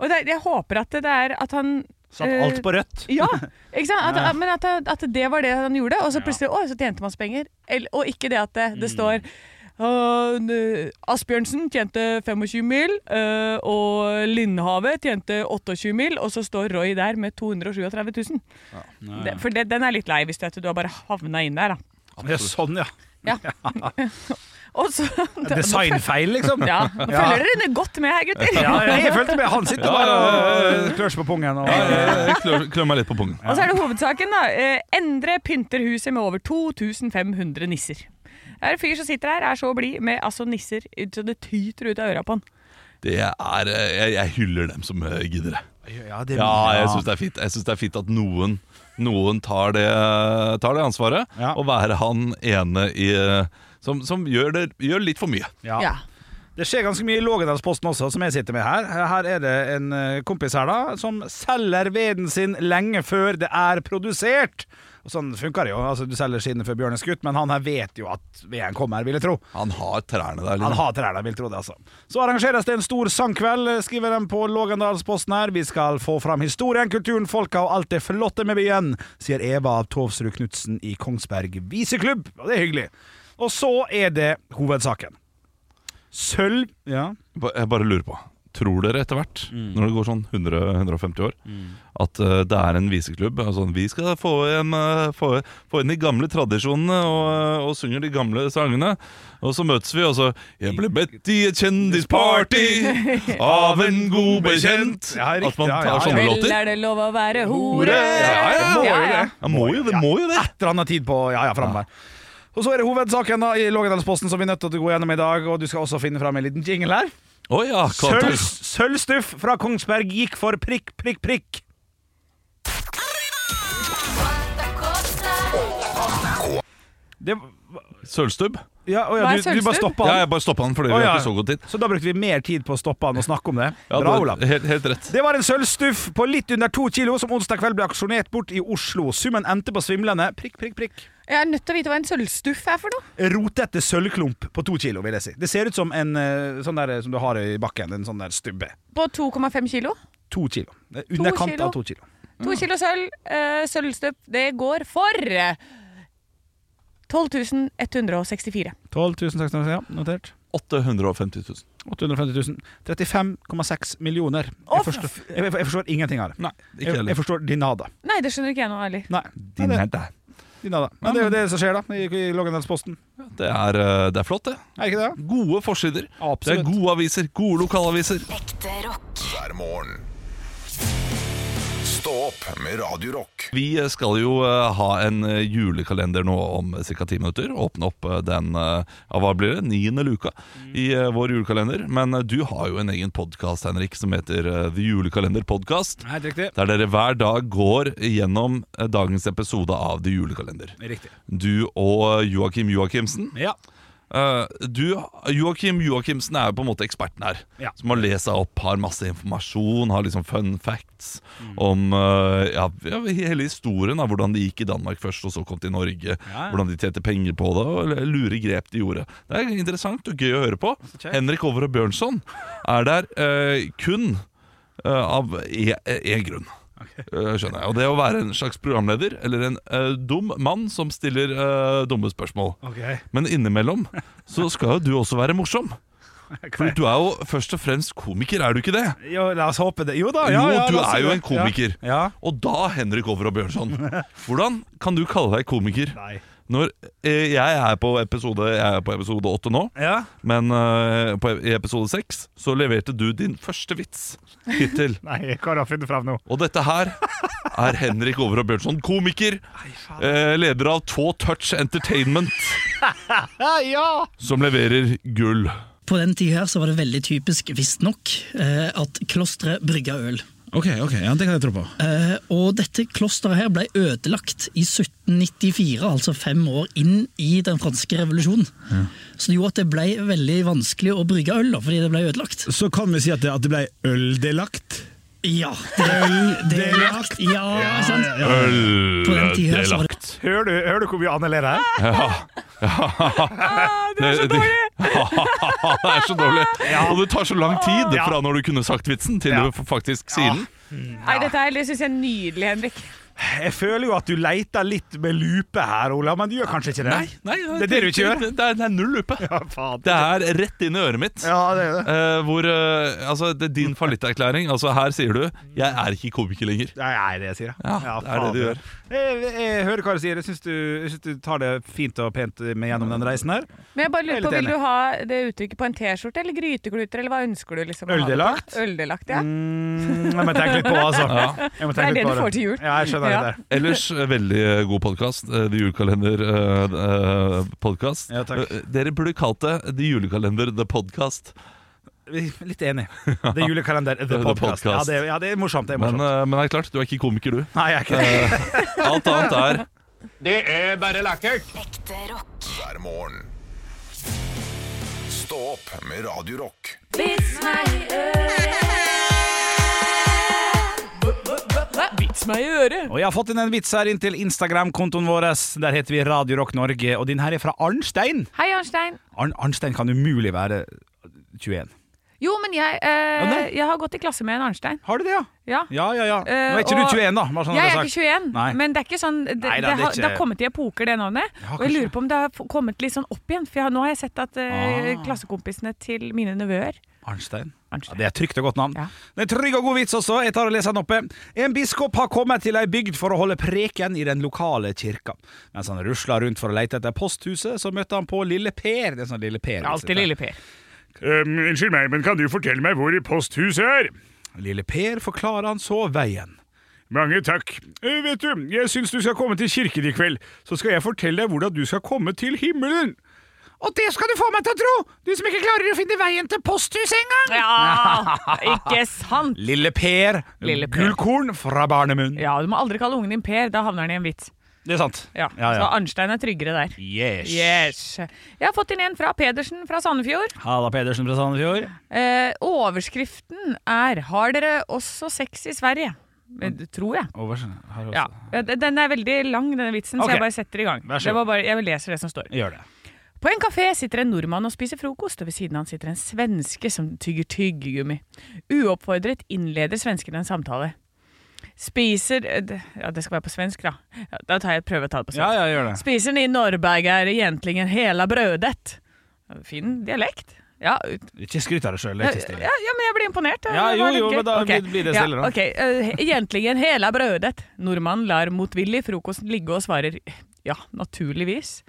Og det, jeg håper at det er at han
Satt
eh,
alt på rødt.
ja, ikke sant? At, Men at, at det var det han gjorde, og så plutselig å, så tjente man penger. Eller- Og ikke det at det, det
Mm.
står «Å, n- Asbjørnsen tjente 25 mil, øh, og Lindhavet tjente 28 mil, og så står Roy der med 237 000. Det, for det, den er litt lei hvis du, vet du har bare havna inn der, da.
Ja, sånn, ja.
Og så,
Designfeil, liksom.
Ja, nå følger dere godt med her, gutter.
Ja, jeg fulgte med. Han sitter bare og klør seg på pungen. Og,
Eh, Jeg klør, klør meg litt på pungen.
Og så er det hovedsaken, da. Eh, Endre pynter huset med over 2500 nisser. Det er en fyr som sitter her, er så blid med altså, nisser ut- så det tyter ut av øra på han.
Det er, eh, jeg, jeg hyller dem som eh, gidder det.
ja, det,
Ja, jeg syns det er fint Jeg synes det er fint at noen, noen tar, det, tar det ansvaret.
Ja.
Og være han ene i eh, Som, som gjør, det, gjør litt for mye.
Ja. Det skjer ganske mye i Lågedalsposten også, som jeg sitter med her. Her er det en eh, kompis her da, som selger veden sin lenge før det er produsert. Og Sånn funker det jo. altså Du selger skinnet før bjørnen er skutt, men han her vet jo at veden kommer, vil jeg tro.
Han har trærne der.
Han
Liksom.
hater Erna, vil tro det, altså. Så arrangeres det en stor sangkveld, eh, skriver de på Lågendalsposten her. Vi skal få fram historien, kulturen, folka og alt det flotte med byen, sier Eva Tovsrud Knutsen i Kongsberg Viseklubb. Og det er hyggelig. Og så er det hovedsaken. Sølv Ja.
Ba- Jeg bare lurer på Tror dere etter hvert,
Mm.
når det går sånn 100-150 år, at eh, det er en viseklubb? Altså, vi skal få inn, eh, få, få inn de gamle tradisjonene og, eh, og synger de gamle sangene. Og så møtes vi, og så Jeg ble bedt i et kjendisparty av en god bekjent.
Ja, riktig,
At man
ja, ja,
tar sånne
ja.
Vel
låter.
er det lov å være
Hore!
hore.
Ja, ja,
må jo
Ja, ja.
det.
Ja, må jo det, må jo det.
Et eller annet tid på Ja, ja, framover. Og så er det hovedsaken da i Lågendalsposten som vi er nødt til å gå gjennom i dag. Og du skal også finne fram en liten jingle her.
Å ja,
Sølv,
Katar.
sølvstuff fra Kongsberg gikk for prikk, prikk, prikk. Det,
Sølvstubb?
ja, å ja,
Hva er
du, du bare
sølvstubb?
stoppa
Ja,
han.
jeg bare stoppa den fordi
Å
vi
ja.
har ikke så god tid.
Så da brukte vi mer tid på å stoppe han og snakke om det.
Ja,
Bra,
du-
Olav.
helt, helt rett.
Det var en sølvstuff på litt under to kilo som onsdag kveld ble aksjonert bort i Oslo. Summen endte på svimlende prikk, prikk, prikk.
Jeg er nødt til å vite hva en sølvstuff er for noe.
Rotete sølvklump på to kilo, vil jeg si. Det ser ut som en eh, sånn der eh, som du har i bakken. En sånn der stubbe.
På 2,5 kilo.
To kilo. Det er Underkant
kilo?
av to kilo.
To kilo sølv, eh, sølvstuff, det går for eh, 12 164.
12 600, ja, notert.
850 000.
850 000. 35,6 millioner.
Å,
Jeg forstår, jeg, jeg forstår ingenting av det.
Nei, ikke
Jeg, jeg
heller.
forstår Dinada.
Nei, det skjønner ikke jeg nå heller.
Nei. Nei, det- Dinada. Men det er jo det som skjer, da, i, i Lågendalsposten.
Det er, eh, det er flott, det.
Er ikke det?
Gode forsider. Det
Absolutt.
er gode aviser. Gode lokalaviser.
Ekte rock.
hver morgen. Stå opp med Radio Rock.
Vi skal jo eh, ha en eh, julekalender nå om ca. ti minutter. Åpne opp eh, den eh, ja, hva blir det, niende luka i eh, vår julekalender. Men eh, du har jo en egen podkast, Henrik, som heter eh, The Julekalender Podcast.
Helt riktig.
Der dere hver dag går gjennom eh, dagens episode av The Julekalender.
Riktig.
Du og Joakim Joakimsen.
Ja.
Eh, du, Joakim Joakimsen er jo på en måte eksperten her.
Ja.
Som har lest seg opp, har masse informasjon, har liksom fun facts
Mm.
om eh, ja, ja, hele historien. Da, hvordan de gikk i Danmark først, og så kom til Norge.
Ja.
Hvordan de tjente penger på det, og lure grep de gjorde. Det er interessant og gøy å høre på.
kjekt.
Henrik Over og Bjørnson er der eh, kun eh, av én grunn. Eh, skjønner jeg. Og det å være en slags programleder, eller en eh, dum mann som stiller eh, dumme spørsmål.
Ok.
Men innimellom så skal jo du også være morsom. Fordi du er jo først og fremst komiker, er du ikke det?
Jo, la oss håpe det. Jo da, ja,
Jo,
ja,
du
la oss
er
si
jo
det.
en komiker.
Ja. ja.
Og da Henrik Over og Bjørnson. Hvordan kan du kalle deg komiker
Nei.
når eh, jeg er på episode Jeg er på episode åtte nå,
Ja.
men eh, på, i episode seks så leverte du din første vits hittil.
Nei, hva har jeg funnet fram nå?
Og dette her er Henrik Over og Bjørnson, komiker, eh, leder av Tå Touch Entertainment,
ja!
som leverer gull.
På den tida her så var det veldig typisk, visstnok, eh, at klosteret brygga øl.
Ok, ok, ja, det kan jeg tro på.
Eh, og dette klosteret her ble ødelagt i 1794, altså fem år inn i den franske revolusjonen. Så det gjorde at det ble veldig vanskelig å brygge øl, da, fordi det ble ødelagt.
Så kan vi si at det, at det ble øldelagt.
Ja, det er
Øldelagt.
Ja, sant? På den tida her så var det
Øldelagt.
Hører du, hører du hvor mye Anne ler her?
Ja.
Det er så dårlig!
det er så dårlig. Og det tar så lang tid
Ja.
fra når du kunne sagt vitsen, til
Ja.
du faktisk sier den.
Nei, dette her syns jeg er nydelig, Henrik.
Jeg føler jo at du leter litt med lupe her, Ola, men du gjør kanskje ikke det? Det er det du ikke gjør?
Det er, det er null lupe.
Ja, faen.
Det er rett inn i øret mitt.
Ja, det er det.
Eh, hvor, eh, altså, det er din fallitterklæring. Altså, her sier du 'jeg er ikke komiker lenger'.
Nei, det er det jeg sier,
Ja, det er det du gjør.
Jeg, jeg hører hva du sier. Jeg syns du, jeg synes du tar det fint og pent med gjennom den reisen her.
Men jeg bare
Jeg
lurer
er
på,
litt
Vil
enig.
du ha det uttrykket på en T-skjorte eller grytekluter, eller hva ønsker du? liksom? å ha det på?
Øldelagt?
Øldelagt, ja.
Mm, jeg må tenke litt på, altså.
Ja.
Jeg må
Det er
tenke litt
det
på
du får til jul.
Ja, jeg skjønner
Ja.
det der.
Ellers eh, veldig eh, god podkast. The Julekalender eh, eh, podcast.
Ja, takk.
Eh, Dere burde kalt det The Julekalender The Podcast.
Vi- Litt enig. Det er julekalender, the
The
podcast. Ja,
podcast.
det, er- ja, det er morsomt. Det er
Men,
morsomt.
eh, men det er klart, du er ikke komiker, du.
Nei, jeg er ikke det.
Alt annet er
Det er bare lekkert.
Ekte rock.
hver morgen. Stå opp med Radio Rock.
Vits meg i øret!
Og jeg har fått inn en vits her inn til Instagram-kontoen vår. Der heter vi Radio Rock Norge, og din her er fra Arnstein.
Hei, Arnstein.
Arn Arnstein kan umulig være 21.
Jo, men jeg,
Ja,
eh,
nei.
jeg har gått i klasse med en Arnstein.
Har du det, ja?
Ja.
Ja, ja, ja.
Eh,
Nå er ikke du
og-
21, da. Bare sånn
Jeg
at
er
det
ikke 21,
Nei.
men det er ikke sånn Det,
Nei, da,
det,
det er
har, det har
ikke-
kommet i epoker, det navnet.
Ja,
og jeg
kanskje.
lurer på om det har f- kommet litt sånn opp igjen. For jeg, har- nå har jeg sett at eh,
Ah.
klassekompisene til mine nevøer
Arnstein. Ja,
Arnstein.
det er et trygt og godt navn.
Ja.
Det er en trygg og god vits også. Jeg tar og leser den oppe. En biskop har kommet til ei bygd for å holde preken i den lokale kirka. Mens han rusla rundt for å lete etter posthuset, så møtte han på Lille Per. Det er sånn Lille Per.
Alltid Lille Per.
Ehm, unnskyld meg, men kan du fortelle meg hvor posthuset er? Lille Per forklarer han så veien. Mange takk. Eh, vet du, jeg syns du skal komme til kirken i kveld. Så skal jeg fortelle deg hvordan du skal komme til himmelen. Og det skal du få meg til å tro! Du som ikke klarer å finne veien til posthuset engang!
Ja, ikke sant?
Lille Per,
Lille Per.
gullkorn fra barnemunn.
Ja, Du må aldri kalle ungen din Per, da havner han i en vits.
Det er sant.
Ja,
Ja, ja.
Så Arnstein er tryggere der.
Yes.
Yes. Jeg har fått inn en fra Pedersen fra Sandefjord.
Halla Pedersen fra Sandefjord.
Eh, overskriften er 'Har dere også sex i Sverige?' Eh,
Mm.
det Tror jeg.
Over- her også.
Ja. Eh, d- Den er veldig lang, denne vitsen,
Altså. Ok.
så jeg bare setter i gang.
Vær så
Det var bare, jeg leser det som står.
Gjør det.
På en kafé sitter en nordmann og spiser frokost, og ved siden av han sitter en svenske som tygger tyggegummi. Uoppfordret innleder svensken en samtale. Spiser eh, d- Ja, det skal være på svensk, da. Ja, Da tar jeg prøver å ta det på svensk.
Ja, ja, gjør det.
Spiser ni norrbergare egentligen hela brödet? Fin dialekt. Ja, ut,
Ikke skryt av deg sjøl.
ja, ja, ja, men jeg blir imponert.
Ja,
Det
jo,
var litt
jo,
gøy.
men da
Ok.
blir- blir det stille, da.
Ja, ok. Eh, Egentligen hele brødet. Nordmannen lar motvillig frokosten ligge og svarer ja, naturligvis.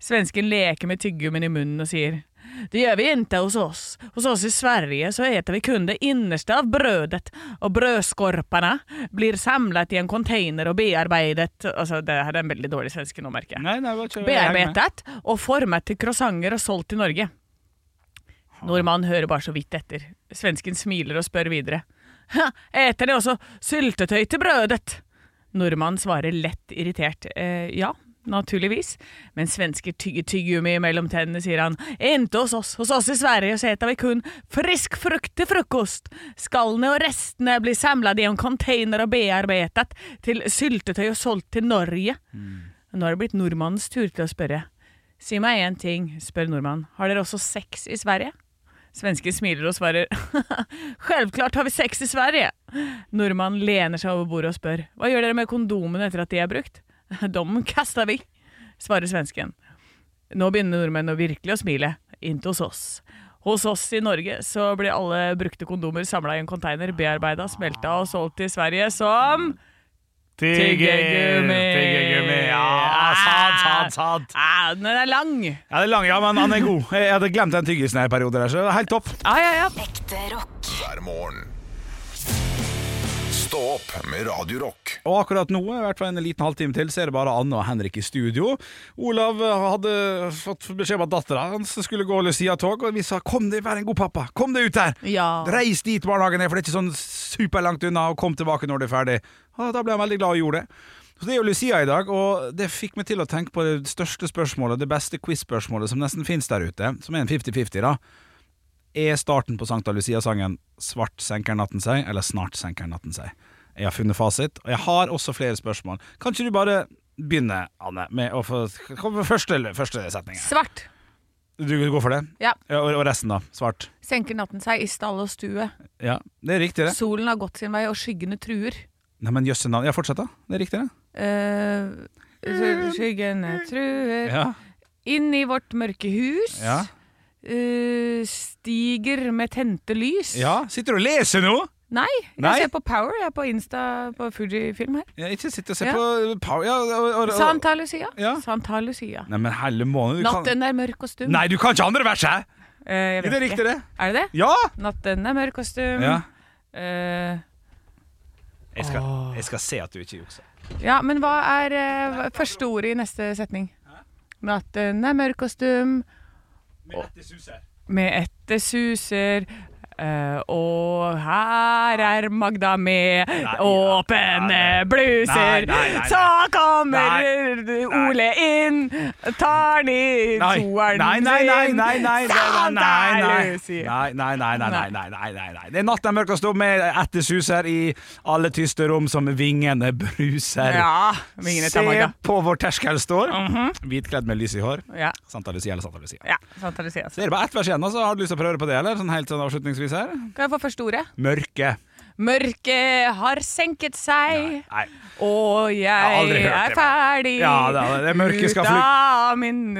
Svensken leker med tyggummen i munnen og sier det gjør vi ikke hos oss. Hos oss i Sverige så eter vi kun det innerste av brødet, og brødskorpene blir samlet i en container og bearbeidet Altså, det her er en veldig dårlig svenske nå, merker jeg
Nei, nei, bare kjør. Heng med.
bearbeidet og formet til croissanter og solgt til Norge. Nordmannen hører bare så vidt etter. Svensken smiler og spør videre. «Hæ, Eter de også syltetøy til brødet? Nordmannen svarer lett irritert. Eh, ja, naturligvis. Men svensker tygger tyggegummi mellom tennene, sier han. Inte hos oss. Hos oss i Sverige så eter vi kun frisk frukt til frokost. Skallene og restene blir samlet i en container og bearbeidet til syltetøy og solgt til Norge. Nå har det blitt nordmannens tur til å spørre. Si meg én ting, spør nordmannen. Har dere også sex i Sverige? Svensken smiler og svarer. Selvklart har vi sex i Sverige! Nordmannen lener seg over bordet og spør. Hva gjør dere med kondomene etter at de er brukt? Dem kaster vi, svarer svensken. Nå begynner nordmenn å virkelig å smile. Inntil hos oss. Hos oss i Norge så blir alle brukte kondomer samla i en konteiner, bearbeida, smelta og solgt til Sverige som Tyggegummi!
Tyggegummi, ja, sant, sant, sant.
Ah, den er lang.
Ja, det er lang, ja, men han er god. Jeg hadde glemt den tyggisen her i perioder, der, så det er helt topp.
Ja, ja, ja.
Ekte rock.
hver morgen. Stå opp med Radio Rock
Og akkurat nå, i hvert fall en liten halvtime til, så er det bare Anne og Henrik i studio. Olav eh, hadde fått beskjed om at dattera hans skulle gå Lucia-tog, og vi sa 'kom deg, vær en god pappa, kom deg ut der'.
Ja.
Reis dit barnehagen er, for det er ikke sånn superlangt unna, og kom tilbake når du er ferdig. Og da ble han veldig glad og gjorde det. Så Det er jo Lucia i dag, og det fikk meg til å tenke på det største spørsmålet, det beste quiz-spørsmålet som nesten finnes der ute, som er en 50-50, da. Er starten på Sankta Lucia-sangen 'Svart senker natten seg', eller 'Snart senker natten seg'? Jeg har funnet fasit, og jeg har også flere spørsmål. Kan ikke du bare begynne, Anne, med å få Kom med første, første setning?
Svart.
Du går for det?
Ja.
Og og resten, da? Svart?
Senker natten seg i stall og stue.
Ja, det er riktig, det.
Solen har gått sin vei, og skyggene truer.
Nei, men jøsse navn. Ja, fortsett, da. Det er riktig, det.
Eh,
Mm.
sky- skyggene truer Inn i vårt mørke hus.
Ja.
Eh, stiger med tente lys.
ja. Sitter du og leser nå?
Nei, jeg
Nei.
ser på Power. Jeg er på Insta på Fujifilm her.
Ja, ikke sitt og se
Ja.
på Power ja, og, og, og.
Santa Lucia.
Ja.
Santa Lucia.
Nei, men helle måned. Du kan...
Natten er mørk og stum.
Nei, du kan ikke andre verset!
Eh, jeg
Det
vet
er riktig, det.
ikke. Er det det?
Ja!
Natten er mørk og stum.
ja.
Eh,
Jeg, skal, jeg skal se at du ikke jukser.
ja, men hva er eh, hva- første ordet i neste setning? Natten er mørk og stum. Med ett suser. eh, og her er Magda med åpne bluser.
Nei, nei, nei, nei.
Så kommer
Nei.
Ole inn, tar den i
Nei, nei,
toeren
nei, nei, nei,
sin.
nei, nei, nei,
Santa
nei, nei,
Lucia.
nei, nei, nei, nei, nei, nei, nei, nei, nei. Det er natten mørk og stum med ettersuser i alle tyste rom som vingene bruser.
Ja, vingene
Se
til Magda. Mhm.
på hvor terskel står. Hvitkledd med lys i hår.
Ja,
Santa Lucia eller Santa Lucia.
ja sant har du sier.
Så er det bare ett vers igjen, altså. Har du lyst til å prøve på det, eller? Sånn helt sånn avslutningsvis her.
Kan jeg få første ordet?
Mørke.
Mørket har senket seg,
Nei.
og
har
jeg
aldri hørt
er
det, men-
ferdig
Ja, det er- det er mørket skal
ut
fly- Mm.
av min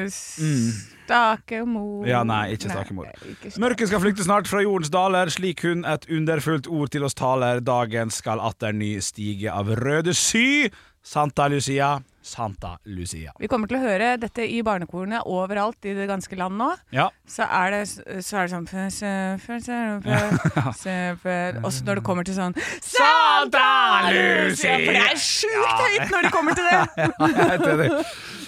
stakemor.
Ja, nei, ikke stakemor.
Mm. Nei, ikke stakemor.
Mørket skal flykte snart fra jordens daler, slik hun et underfullt ord til oss taler. Dagen skal atter ny stige av røde sy. Santa Lucia, Santa Lucia.
Vi kommer til å høre dette i barnekorene overalt i det ganske land nå.
Ja.
Så er det, så er det sånn Også når det kommer til sånn Santa Lucia! For det er sjukt høyt når det kommer til det!
Jeg heter det.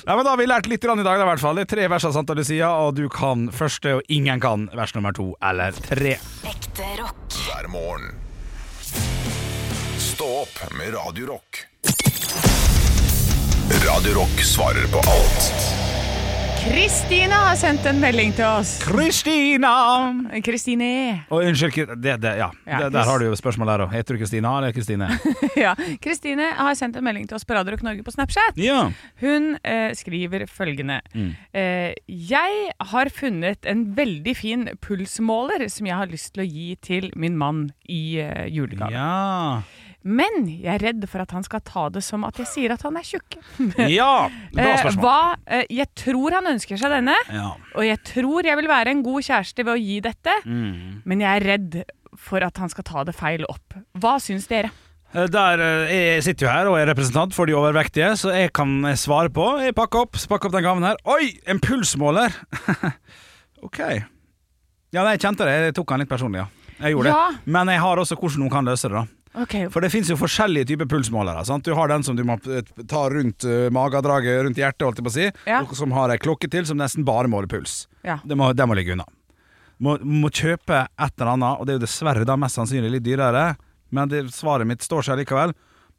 Nei, men da har vi lært litt grann i dag, da, i hvert fall. Det er tre vers av Santa Lucia, og du kan første, og ingen kan vers nummer to eller tre.
Ekte rock.
hver morgen. Stå opp med Radio Rock. Radio Rock svarer på alt
Kristine har sendt en melding til oss.
Kristina!
Kristine.
Og unnskyld, Kri- det, det, ja.
Ja,
Der- der har du jo spørsmål der òg. Heter du Kristina eller Kristine?
Ja. Kristine har sendt en melding til oss på Radio Rock Norge på Snapchat.
ja. Mm.
Hun eh, skriver følgende. Eh, jeg har funnet en veldig fin pulsmåler som jeg har lyst til å gi til min mann i eh, julegave.
Ja.
Men jeg er redd for at han skal ta det som at jeg sier at han er tjukk.
ja. Bra
Eh,
spørsmål.
hva, eh, jeg tror han ønsker seg denne,
Ja.
og jeg tror jeg vil være en god kjæreste ved å gi dette,
Mm.
men jeg er redd for at han skal ta det feil opp. Hå syns dere?
Eh, Der eh, jeg sitter jo her og er representant for de overvektige, så jeg kan eh, svare på. Jeg pakker opp, pakker opp den gaven her. Oi, en pulsmåler! ok. Ja, nei, jeg kjente det. Jeg tok den litt personlig, ja. Jeg gjorde
Ja.
det. Men jeg har også hvordan hun kan løse det, da.
Ok,
For det finnes jo forskjellige typer pulsmålere. Sant? Du har den som du må eh, ta rundt eh, magedraget, rundt hjertet, holdt jeg på å si.
Ja.
Og som har ei klokke til som nesten bare måler puls.
ja.
Det må, det må ligge unna. Må, må kjøpe et eller annet, og det er jo dessverre da mest sannsynlig litt dyrere, men det, svaret mitt står seg likevel.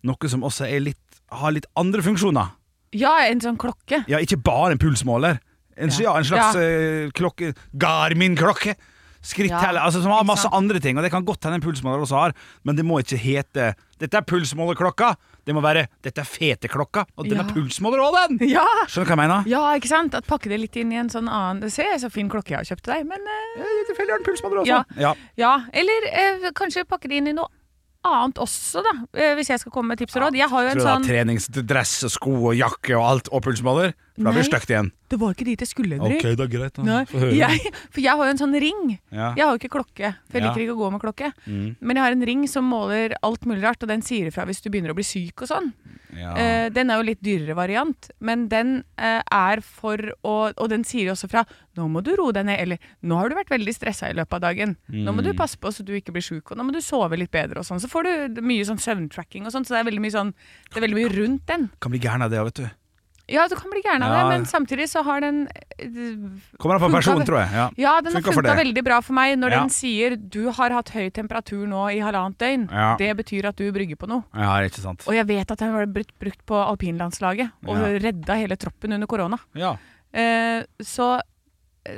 Noe som også er litt, har litt andre funksjoner.
ja, en sånn klokke.
Ja, ikke bare en pulsmåler. En,
Ja.
ja. en slags
Ja.
eh, klokke Garmin-klokke! Skritteller.
Ja,
Altså, som har
ikke
masse
sant.
andre ting, og det kan godt hende en pulsmåler også har, men det må ikke hete 'Dette er pulsmålerklokka'. Det må være 'Dette er feteklokka', og den
Ja.
er pulsmåler òg, den!
Ja!
Skjønner du hva jeg mener?
Ja, ikke sant? At pakke det litt inn i en sånn annen Se, så fin klokke jeg har kjøpt til deg, men eh,
Ja, Tilfeldig har den pulsmåler også.
Ja.
Ja.
Ja, eller eh, kanskje pakke det inn i noe annet også, da. Eh, hvis jeg skal komme med tips og råd. Jeg har jo
Tror
en
du det
sånn
er treningsdress og sko og jakke og alt og pulsmåler? For da blir det
Nei.
stygt igjen.
Det var ikke dit jeg skulle, Henrik.
Ok, det er greit, da.
Nei.
Få høre.
Jeg, for jeg har jo en sånn ring.
Ja.
Jeg har jo ikke klokke, for jeg
Ja.
liker ikke å gå med klokke.
Mm.
Men jeg har en ring som måler alt mulig rart, og den sier ifra hvis du begynner å bli syk og sånn.
Ja.
Eh, den er jo litt dyrere variant, men den eh, er for å Og den sier jo også fra 'nå må du roe deg ned', eller 'nå har du vært veldig stressa i løpet av dagen', 'nå må
Mm.
du passe på så du ikke blir sjuk', og 'nå må du sove litt bedre', og sånn. Så får du mye sånn søvntracking og sånn, så det er veldig mye sånn Det er veldig mye rundt den.
Kan bli gæren av det òg, vet du.
Ja, du kan bli gæren av
Ja.
det, men samtidig så har den eh,
Kommer an på
funka
person,
ve-
tror jeg. Ja.
den har
Funka for
funka
det.
veldig bra for meg når
Ja.
den sier 'du har hatt høy temperatur nå i halvannet døgn'.
Ja.
Det betyr at du brygger på noe.
Ja, ikke sant.
Og jeg vet at den ble brukt, brukt på alpinlandslaget og
Ja.
redda hele troppen under korona.
Ja.
Eh, så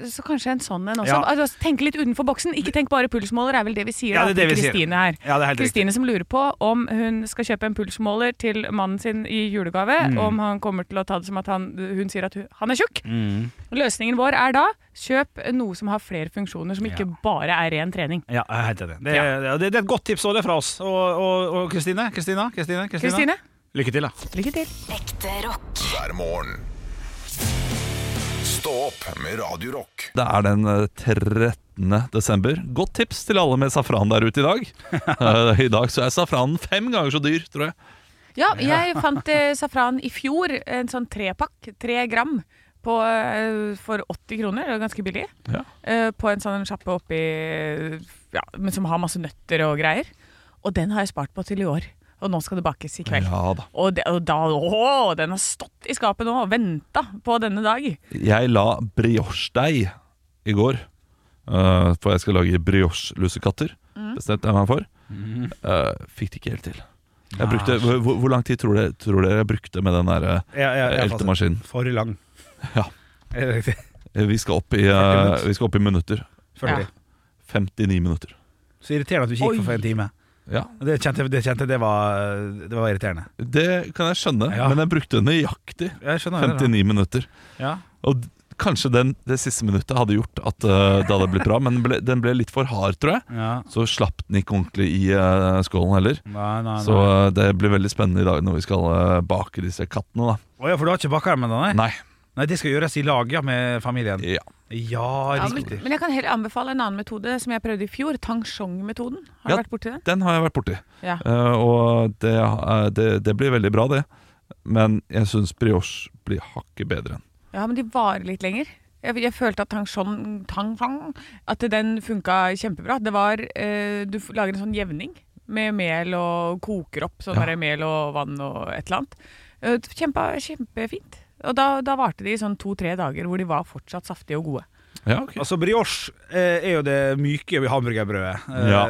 så kanskje en sånn en også.
Ja.
Altså, tenk litt utenfor boksen. Ikke tenk bare pulsmåler, er vel det vi sier
Ja, det
da,
er det
til
vi sier.
Kristine her.
Ja, det er helt riktig.
Kristine som lurer på om hun skal kjøpe en pulsmåler til mannen sin i julegave.
Mm.
Om han kommer til å ta det som at han, hun sier at hun, han er tjukk.
Mm.
Løsningen vår er da kjøp noe som har flere funksjoner, som ikke bare er ren trening.
Ja, jeg er helt enig. Det, det, det er et godt tips, og det er fra oss. Og- Og og Kristine? Kristina? Kristine?
Kristine?
Lykke til, da.
Lykke til.
Ekte rock.
hver morgen. Stå opp med Radio Rock.
Det er den eh, 13. desember. Godt tips til alle med safran der ute i dag. Eh, I dag så er safranen fem ganger så dyr, tror jeg.
Ja, jeg fant eh, safran i fjor, en sånn trepakk, tre gram, på, eh, for 80 kroner, det var ganske billig.
Ja.
Eh, På en sånn sjappe oppi ja, men Som har masse nøtter og greier. Og den har jeg spart på til i år. Og nå skal det bakes i kveld.
Ja da.
Og, det, og da Å, den har stått i skapet nå og venta på denne dag.
Jeg la brioche-deig i går, eh, for jeg skal lage brioche-lusekatter.
Mm.
Bestemte jeg meg for.
Mm.
Eh, fikk det ikke helt til. Jeg
Nei.
brukte, hvor, hvor- hvor lang tid tror dere, tror dere jeg brukte med den der eh,
Ja, ja, ja, altså, fasit.
eltemaskinen?
For lang.
Ja.
Er det riktig?
Eh, Vi skal opp i, eh,
40
vi skal opp i minutter.
40. Ja.
59 minutter.
Så irriterende at du ikke gikk for for en time.
Ja.
Det kjente det, kjente, det, var, det var irriterende.
Det kan jeg skjønne,
Ja.
men jeg brukte nøyaktig
Jeg skjønner det, da.
59 minutter.
Ja.
Og d- kanskje den, det siste minuttet hadde gjort at eh, det hadde blitt bra, men ble, den ble litt for hard, tror jeg.
Ja.
Så slapp den ikke ordentlig i eh, skålen heller.
Nei, nei,
Så
nei.
eh, det blir veldig spennende i dag når vi skal eh, bake disse kattene, da.
Å ja, for du har ikke baka dem ennå, nei?
Nei.
Nei, Det skal gjøres i lag, ja, med familien.
Ja,
Ja, men,
riktig.
men jeg kan heller anbefale en annen metode som jeg prøvde i fjor. Tang Shong-metoden. Har
Ja.
du vært borti den?
Den har jeg vært borti.
Ja.
Eh, og det, eh, det, det blir veldig bra, det. Men jeg syns brioche blir hakket bedre enn
Ja, men de varer litt lenger. Jeg, jeg følte at tang shon- tang shong, at den funka kjempebra. Det var eh, Du f- lager en sånn jevning med mel og koker opp sånn
Ja.
der mel og vann og et eller annet. Eh, Kjempa, kjempefint. Og da, da varte de i sånn to-tre dager hvor de var fortsatt saftige og gode.
Altså Brioche eh, er jo det myke i hamburgerbrødet. Eh,
Ja.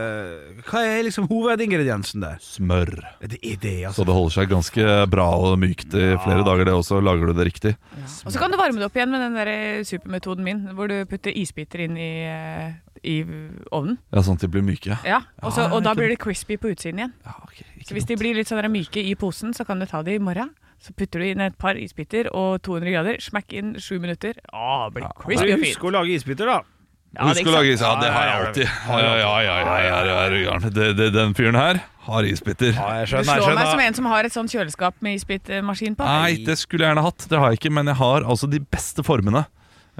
Hva er liksom hovedingrediensen der?
smør.
Det er det,
Så
altså.
det holder seg ganske bra og mykt i flere dager, det også. Lager du det riktig.
Og så kan du varme det opp igjen med den der eh, supermetoden min, hvor du putter isbiter inn i, eh, i ovnen.
Ja, Sånn at de blir myke.
Ja, og, så,
Ja,
og da
Ah, ikke
blir det crispy på utsiden igjen. så hvis de blir litt sånn der myke i posen, så kan du ta de i morgen. Så putter du inn et par isbiter og 200 grader. Smekk inn sju minutter. Å, Ah, det blir crispy og fint.
Husk å lage isbiter, da.
Ja, det er
Husk
ikke
å lage is. Ja,
sant.
det har jeg alltid. Ja, ja, ja, ja, ja, ja, ja, er du gæren. Det- det- Den fyren her har isbiter.
Du slår meg som en som har et sånt kjøleskap med isbitmaskin på.
Nei, det skulle jeg gjerne hatt. Det har jeg ikke, men jeg har altså de beste formene.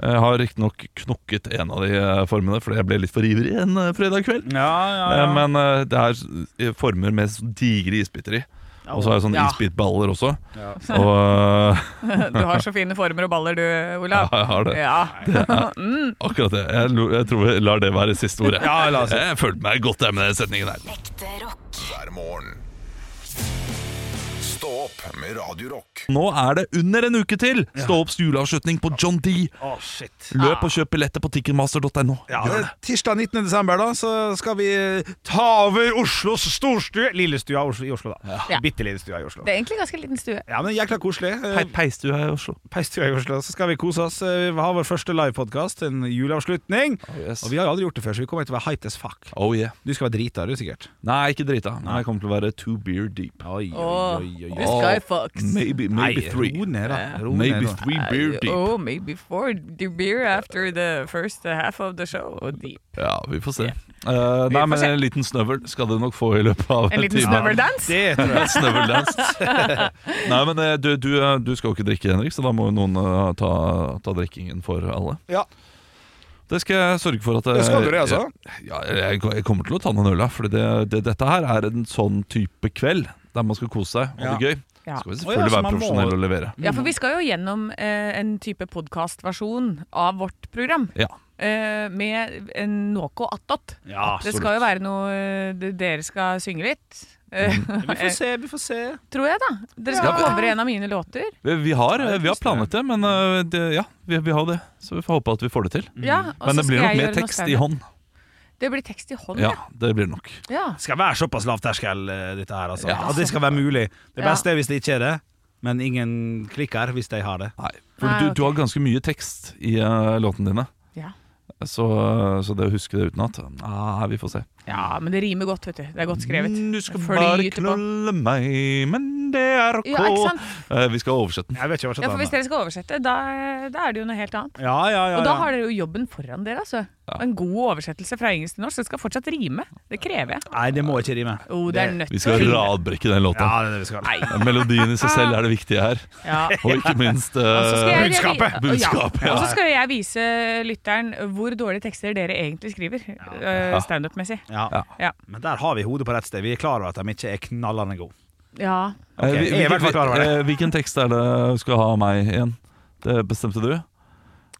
Jeg har riktignok knokket en av de eh, formene fordi jeg ble litt for ivrig en eh, fredag kveld.
ja.
Eh, Men eh, det er eh, former med sånn digre isbiter i. Og så har jeg sånne
Ja.
isbitballer også.
Ja.
Og, eh,
Du har så fine former og baller du,
ja,
Olav.
jeg har det.
Ja.
det er
Mm.
akkurat det. Jeg, lo- jeg tror vi lar det være siste ordet.
Ja, la oss si det.
jeg følte meg godt der med den setningen der.
Ekte rock.
hver morgen. Stå opp med Radio Rock.
Nå er det under en uke til Stå opps juleavslutning på John D.
Å, shit.
Løp og kjøp billetter på ticketmaster.no.
Ja,
Gjør
det
det.
er Tirsdag 19. desember da Så skal vi eh, ta over Oslos storstue Lillestua Oslo, i Oslo da
Ja.
Bitte lillestua i Oslo
Det er egentlig ganske liten stue.
Ja, men jækla koselig Eh,
Pe Peistua i Oslo
Peistua i Oslo Så skal vi kose oss Eh, Vi har vår første livepodcast En juleavslutning
Oh, yes.
Og vi har jo aldri gjort det før Så vi kommer til å være hyped as fuck
Oh yeah.
Du skal være drita, du sikkert
Nei, ikke drita. Nei, jeg kommer til å være two beer deep.
Oi,
Åh, this
Åh,
guy fucks.
Maybe, maybe
Nei,
three.
ro ned da Ro
Maybe
ned nå.
three beer deep.
Oh, maybe four the beer after the first half of the show. Oh, deep.
Ja, vi får se. Eh, nei,
får
men
se.
en liten snøvel skal du nok få i løpet av
En liten
time.
snøveldans?
Det tror jeg.
Snøveldans. Nei, men eh, du, du, eh, du skal jo ikke drikke, Henrik, så da må jo noen eh, ta, ta drikkingen for alle.
Ja.
Det skal jeg sørge for at eh, jeg-
Det skal du, det, altså?
Ja, jeg, jeg kommer til å ta noen øl, da, for det, det, dette her er en sånn type kveld der man skal kose seg og ha det gøy.
Ja.
Skal vi
Å, ja,
selvfølgelig
så
være
man må-
profesjonelle og levere.
Ja, for vi skal jo gjennom eh, en type podkastversjon av vårt program.
Ja.
Eh, med en noe attåt.
Ja,
Det skal jo være noe eh, det- Dere skal synge litt. Eh,
Vi får se, vi får se.
tror jeg, da. Dere skal
Ja.
covre en av mine låter.
Vi, vi, har, vi har planlett det, men eh, det, ja, vi, vi har det. Så vi får håpe at vi får det til.
Ja,
Mm.
og så
Men det blir
skal
nok
jeg
mer
gjøre noe
tekst i
standup.
hånd.
Det blir tekst i hånd,
Ja,
ja.
det blir det nok.
ja.
Skal være såpass lavterskel, eh, dette her, altså.
Ja.
At det skal være mulig. Det
Ja.
beste er hvis det ikke er det, men ingen klikker hvis de har det.
Nei, for
Nei,
du,
ok.
du har ganske mye tekst i eh, låtene dine.
Ja.
Så, så det å huske det utenat ah, Vi får se. Mm,
Ja, men det rimer godt, vet du. Det er godt skrevet.
Du skal
Flyter
bare
på.
knulle meg, men det er ok.
Ja, ikke sant?
Eh, vi skal oversette den.
Jeg vet ikke hva
Ja,
det
for hvis
er.
dere skal oversette, da, da er det jo noe helt annet.
Ja, ja, ja,
Og da
ja.
har dere jo jobben foran dere, altså. Og En god oversettelse fra engelsk til norsk. Det skal fortsatt rime. Det krever jeg.
Nei, det må ikke rime.
Oh, det er nødt
Vi
til å
skal
rime.
radbrekke den
Ja,
låta.
det er det vi skal.
Melodien i seg selv er det viktige her.
Ja.
Og ikke minst eh,
Og så skal jeg-
budskapet.
Ja.
Budskapet, ja.
Og så skal jeg vise lytteren hvor dårlige tekster dere egentlig skriver. eh, Standup-messig.
Ja.
Ja.
Men der har vi hodet på rett sted. Vi er klar over at de ikke er knallende gode.
Ja.
Eh,
Ok,
hvil-
jeg er i hvert fall
hvil-
klar over det.
eh, Hvilken tekst er det du skal ha av meg igjen? Det bestemte du?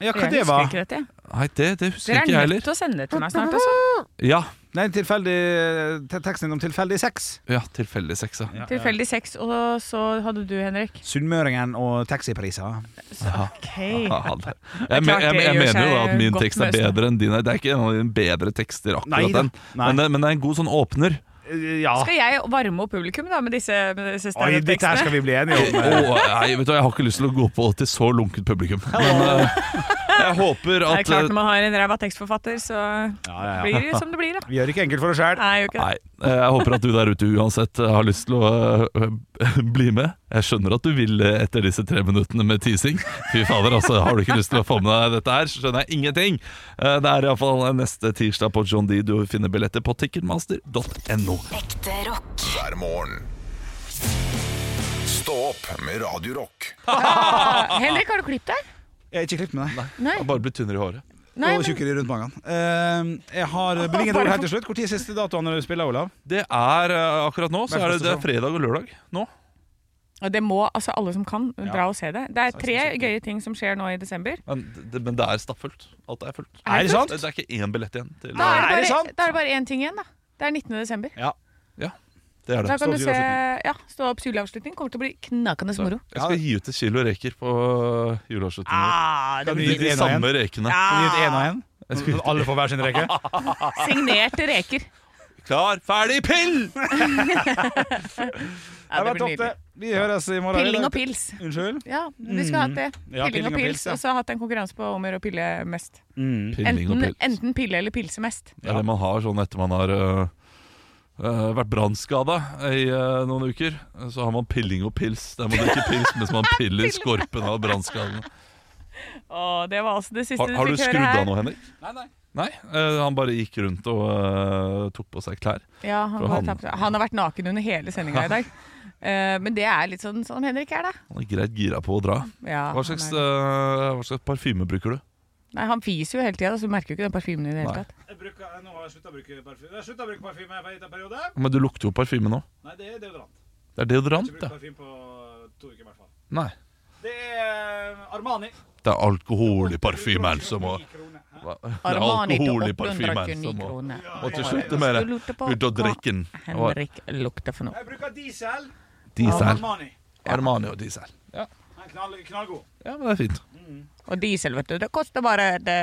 Ja, hva
Jeg
det
husker
var?
ikke dette. jeg.
Nei, det, det husker
Dere
ikke jeg
er nødt
heller.
til å sende det til meg snart, altså.
Ja,
Nei, tilfeldig, te- teksten om tilfeldig sex.
ja tilfeldig sex, ja.
Tilfeldig sex, og så hadde du, Henrik.
Sunnmøringen og taxipriser.
Så, ok.
Ja, det-
er
Jeg, men-
klart
jeg,
det
jeg
gjør
mener jo da
seg
at min
godt
tekst er
med Østland.
bedre enn din. Det er ikke en av dine bedre tekster,
Nei
akkurat
da.
den.
Nei.
Men det, men det er en god sånn åpner.
Ja.
Skal jeg varme opp publikum da med disse, med disse
Oi, dette her skal
standup-tekstene?
vi bli enige om.
Og, nei, vet du, hva, jeg har ikke lyst til å gå på til så lunket publikum. Men eh, jeg håper
Det er
at
klart Når
eh,
man har en ræva tekstforfatter, så
Ja, ja, ja.
blir det som det blir. da
Vi gjør det ikke enkelt for oss sjøl.
Nei, jo ikke
Nei, eh, jeg håper at du der ute uansett eh, har lyst til å eh, bli med. Jeg skjønner at du vil eh, etter disse tre minuttene med teasing. Fy fader, altså, har du ikke lyst til å få med deg dette her, så skjønner jeg ingenting. Eh, Det er iallfall neste tirsdag på John D. Du finner billetter på ticketmaster.no.
Ekte rock.
hver morgen. Stå opp med Radio Rock.
det. Ah, Henrik, har du klippet deg?
Jeg er ikke klipp med deg.
Nei.
Jeg har Bare blitt tynnere i håret.
Nei,
og
men
tjukkere rundt magen. Eh, jeg har bevingede ord helt til slutt. Når er siste datoen du spiller, Olav?
Det er eh, akkurat nå, så er det, det er fredag og lørdag nå.
Og det må altså alle som kan, dra og se det. Det er tre
sant.
gøye ting som skjer nå i desember.
Men det, men det er stappfullt. Alt er fullt.
Er det sant?
Det, det er ikke én billett igjen. Til,
Da er
Er
det
det
bare,
sant?
da er det bare én ting igjen, da. Det er 19. desember.
det er
Da
det.
kan du
til
se ja, Stå opp juleavslutning. Kommer til å bli knakende moro.
Jeg skal gi ut et kilo reker på juleavslutningen. vår.
Ah, det
De, de samme rekene.
Kan vi gi ut én og én? Så Alle får hver sin reke?
Signerte reker.
Klar, ferdig, pill!
Ja, det
var
blir
topp, det.
nydelig.
Vi høres i morgen.
Pilling og pils.
Unnskyld?
Ja, vi skulle
Mm.
hatt det.
Ja,
Pilling og pils.
ja.
Og så hatt en konkurranse på om å gjøre å pille mest.
Pilling og
Mm. Enten,
pill.
enten pille eller pilse mest.
Det er det man har sånn etter man har øh, øh, vært brannskada i øh, noen uker. Så har man pilling og pils. Der man drikker pils mens man piller skorpen av brannskaden.
Å, det var altså det siste
Har, har
du
du
fikk
skrudd
høre her.
av nå, Henrik? Nei, øh, han bare gikk rundt og øh, tok på seg klær.
Ja, han,
For
bare
han-
tapte. han har vært naken under hele sendinga i dag. Eh, men det er litt sånn som Henrik er, da.
Han er greit gira på å dra.
Ja,
Hva slags,
han, er-
øh, hva slags parfyme bruker du?
nei, han fiser jo hele tida, så du merker jo ikke den parfymen i det hele
Nei.
tatt.
Jeg bruker, nå har jeg slutta å bruke parfyme. Jeg har slutta å bruke parfyme på en liten periode.
Men du lukter jo parfyme nå.
Nei, det er deodorant.
Det er deodorant, ja.
parfyme på to uker, i hvert fall.
Nei.
Det er eh, Armani.
Det er alkohol i parfymen som må Hva? Det er
Armani til
alkohol i
829
parfymen som må
kroner.
Og til slutt det mer
Du lurte på
ut og drikke den.
hva Henrik lukter for noe.
Jeg bruker diesel.
Diesel.
Armani.
Armani og diesel.
knallgod.
Ja, men det er fint.
Og diesel, vet du. Det koster bare det,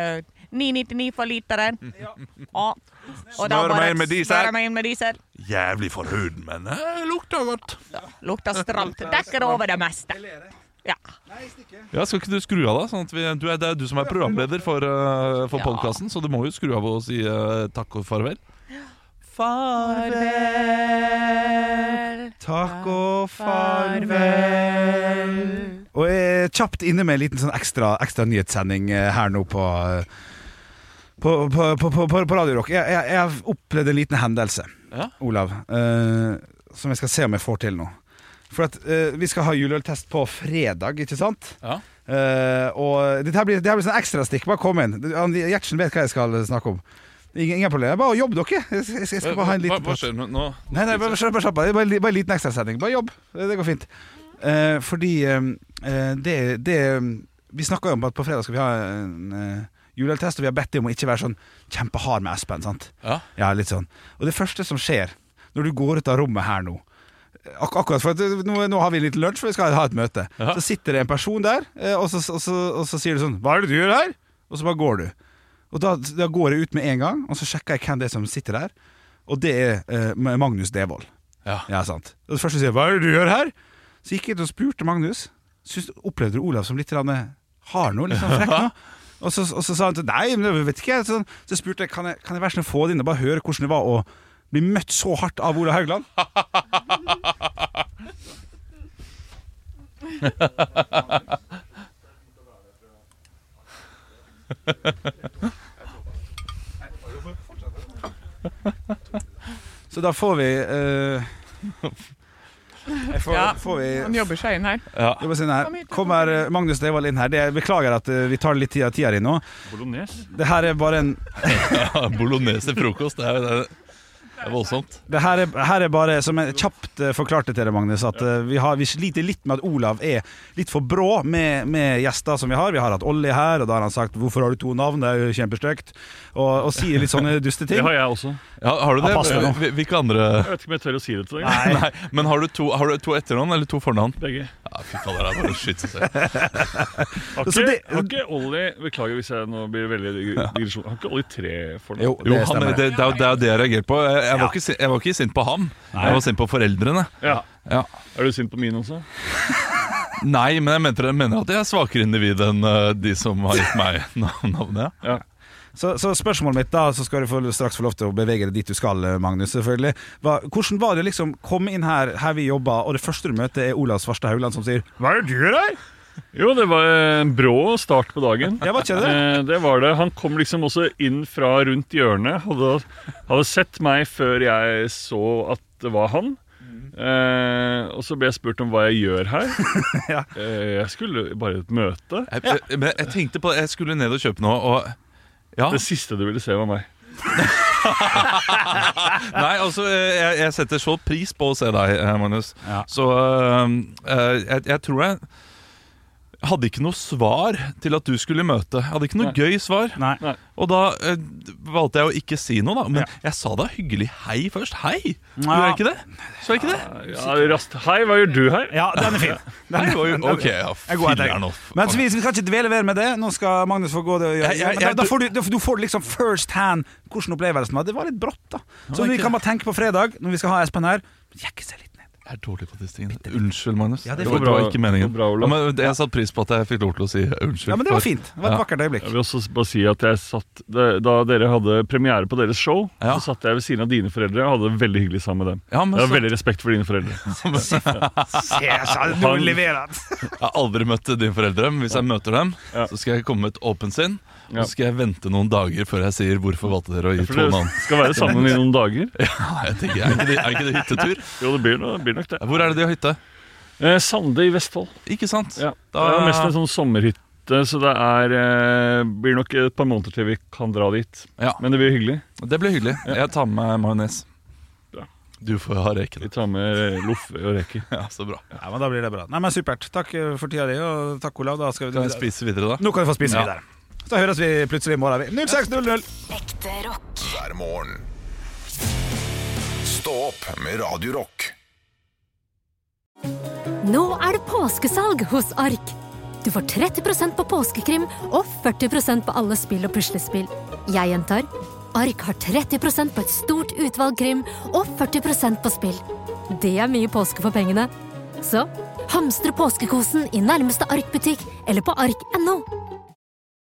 999 for literen. Ja. Og da
Smør
bare
meg inn med diesel.
smører meg inn med diesel.
Jævlig for huden, men det lukter godt.
Lukter stramt. Dekker over det meste. Ja.
Ja, Skal ikke du skru av, da? Sånn at vi, du er, det er du som er programleder for, uh, for
Ja.
podkasten, så du må jo skru av og si eh, takk og farvel.
Farvel.
Takk og farvel. Og jeg er kjapt inne med en liten sånn ekstra, ekstra nyhetssending eh, her nå på eh, på, på, på, på, på Radio Rock. Jeg, jeg, jeg har opplevd en liten hendelse,
Ja.
Olav, eh, som jeg skal se om jeg får til nå. For at eh, vi skal ha juleøltest på fredag, ikke sant?
Ja.
Eh, og dette her blir, dette her blir sånn ekstrastikk. Bare kom inn. Han- Gjertsen vet hva jeg skal snakke om. Ingen, ingen problem. Bare jobb dere. Jeg, jeg, jeg skal bare ha en
Hva,
liten
hva
prat.
skjer med nå?
Nei, nei, bare slapp bare slapp av. Det er Bare, bare en liten ekstrasending. Bare jobb. Det går fint. Eh, fordi eh, det, det Vi snakka jo om at på fredag skal vi ha en uh, juleøltest, og vi har bedt dem om å ikke være sånn kjempehard med Espen. sant?
Ja.
Ja, litt sånn. Og det første som skjer når du går ut av rommet her nå ak Akkurat, for at eh, nå, nå har vi litt lunsj, for vi skal ha et møte.
Ja.
Så sitter det en person der, eh, og, så, og, så, og så sier du sånn 'Hva er det du gjør her?' Og så bare går du. Og da, da går jeg ut med en gang, og så sjekker jeg hvem det er som sitter der. Og det er eh, Magnus Devold.
Ja.
Ja, sant. Og det første sier jeg, 'Hva er det du gjør her?' Så gikk jeg ut og spurte Magnus. Syns, opplevde du Olav som litt grann, eh, hard nå? Litt sånn frekk nå? Og så, og så sa han til Nei, men jeg vet ikke. Så, så spurte jeg kan jeg kan jeg være så snill å få det inn og bare høre hvordan det var å bli møtt så hardt av Olav Haugland. Så da får vi eh, jeg får,
Ja.
får vi
Han jobber seg inn her.
Ja.
Jeg må si den her.
Kom hit, kom
Kommer eh, Magnus Devold inn her. Det, beklager at eh, vi tar litt tid av tida di nå.
Bolognese?
Det her er bare en
Bolognese til frokost, det er, det er- det er voldsomt.
Det her er, her er bare, som jeg kjapt eh, forklarte til deg, Magnus, at eh, vi, har, vi sliter litt med at Olav er litt for brå med, med gjester som vi har. Vi har hatt Olli her, og da har han sagt 'hvorfor har du to navn', det er jo kjempestygt. Og, og sier litt sånne duste ting.
Det har jeg også.
Ja, har du det?
Ja, pass deg nå.
Hvil- Hvilke andre
Jeg vet ikke om jeg tør å si det til deg.
Nei. Men har du to, har du to etternavn eller to fornavn?
Begge.
Ja, fy fader, det er bare å skyte seg.
Har
Så
ikke,
det-
har ikke Olli Beklager hvis jeg nå blir veldig dig- digresjon. Har ikke Olli tre fornavn?
Jo,
Jo, han,
det
det,
stemmer.
det, er jo- det er jo det jeg reagerte på. Jeg, jeg, var ikke, sin- jeg var ikke sint på ham, jeg var sint på foreldrene.
Ja.
Ja.
Er du sint på mine også?
Nei, men jeg mener, mener at jeg er svakere individ enn eh, de som har gitt meg nav- navnet. ja.
Så, så spørsmålet mitt, da, så skal du få, straks få lov til å bevege deg dit du skal, eh, Magnus, selvfølgelig. Hva, hvordan var det å liksom komme inn her, her vi jobber, og det første du møter, er Olav Svarstad Haugland som sier
Hva er det du gjør her? Jo, det var en brå start på dagen.
Ja, hva skjedde?
Eh, det var det. Han kom liksom også inn fra rundt hjørnet. Hadde, hadde sett meg før jeg så at det var han. Eh, og så ble jeg spurt om hva jeg gjør her.
Ja.
eh, jeg skulle bare i et møte.
Jeg, jeg, men jeg tenkte på det, jeg skulle ned og kjøpe noe, og ja.
Det siste du ville se, var meg.
Nei, altså, eh, jeg, jeg setter så pris på å se deg, eh, Magnus.
Ja.
Så eh, eh, jeg, jeg tror jeg hadde ikke noe svar til at du skulle møte. Jeg hadde ikke noe gøy svar.
Nei.
Nei.
Og da eh, valgte jeg å ikke si noe, da. Men
Ja.
jeg sa da hyggelig hei først. Hei! Gjorde
Ja.
jeg ikke det? Sa jeg ikke det?
Ja, rast. Hei, hva gjør du her?
Ja, den er fin.
Nei, det var jo, ok, ja,
Jeg går etter
filler'n
deg.
off.
Men så vi, vi skal ikke dvele ved med det. Nå skal Magnus få gå det og gjøre
Jeg- jeg-
Men da,
jeg-
da, får du, da, får- du får liksom first hand hvordan opplevelsen var. Det var litt brått, da. Så vi kan bare tenke på fredag, når vi skal ha Espen her. Jekke seg litt ned.
Jeg er dårlig på disse tingene. Unnskyld, Magnus.
Ja, det
det,
får
var, det
bra-
var ikke meningen.
det var bra,
ja,
Olav.
men jeg satte pris på at jeg fikk lov til å si unnskyld.
Ja, men det var
for-
fint. Det var et vakkert øyeblikk.
Jeg vil også bare si at jeg satt, da- Da dere hadde premiere på deres show,
Ja.
så satt jeg ved siden av dine foreldre og hadde det veldig hyggelig sammen med dem.
Ja, men
Jeg har
så-
veldig respekt for dine foreldre.
Du leverer.
Jeg har aldri møtt dine foreldre, men hvis jeg møter dem,
Ja.
så skal jeg komme med et åpent sinn. Og
Ja.
så skal jeg vente noen dager før jeg sier 'hvorfor valgte dere å gi
For
to
dere
navn'?
skal være sammen i noen dager.
Ja, jeg tenker, er ikke, det, er ikke det hyttetur?
Jo, det blir, no- det blir nok det.
Hvor er det de har hytte?
Eh, Sande i Vestfold.
Ikke sant?
Ja.
Da-
Det er mest en sånn sommerhytte, så det er, eh, blir nok et par måneder til vi kan dra dit.
sånn-
Ja,
Men det blir hyggelig.
Det blir hyggelig. Jeg tar med meg majones.
Bra.
Du får ha
Vi
reken.
tar med eh, loff og reker.
Ja, så bra.
Ja, men da blir det bra. Nei, men Supert. Takk eh, for tida di, og takk, Olav. Da skal
Kan jeg
vi
spise videre, da?
Nå kan vi få spise
Ja.
videre. Så høres vi plutselig i morgen. vi. 06.00.
Ekte rock.
hver morgen. Stå opp med Radio Rock.
Nå er det påskesalg hos Ark. Du får 30 på påskekrim og 40 på alle spill og puslespill. Jeg gjentar Ark har 30 på et stort utvalg krim og 40 på spill. Det er mye påske for pengene. Så hamstre påskekosen i nærmeste Ark-butikk eller på ark.no.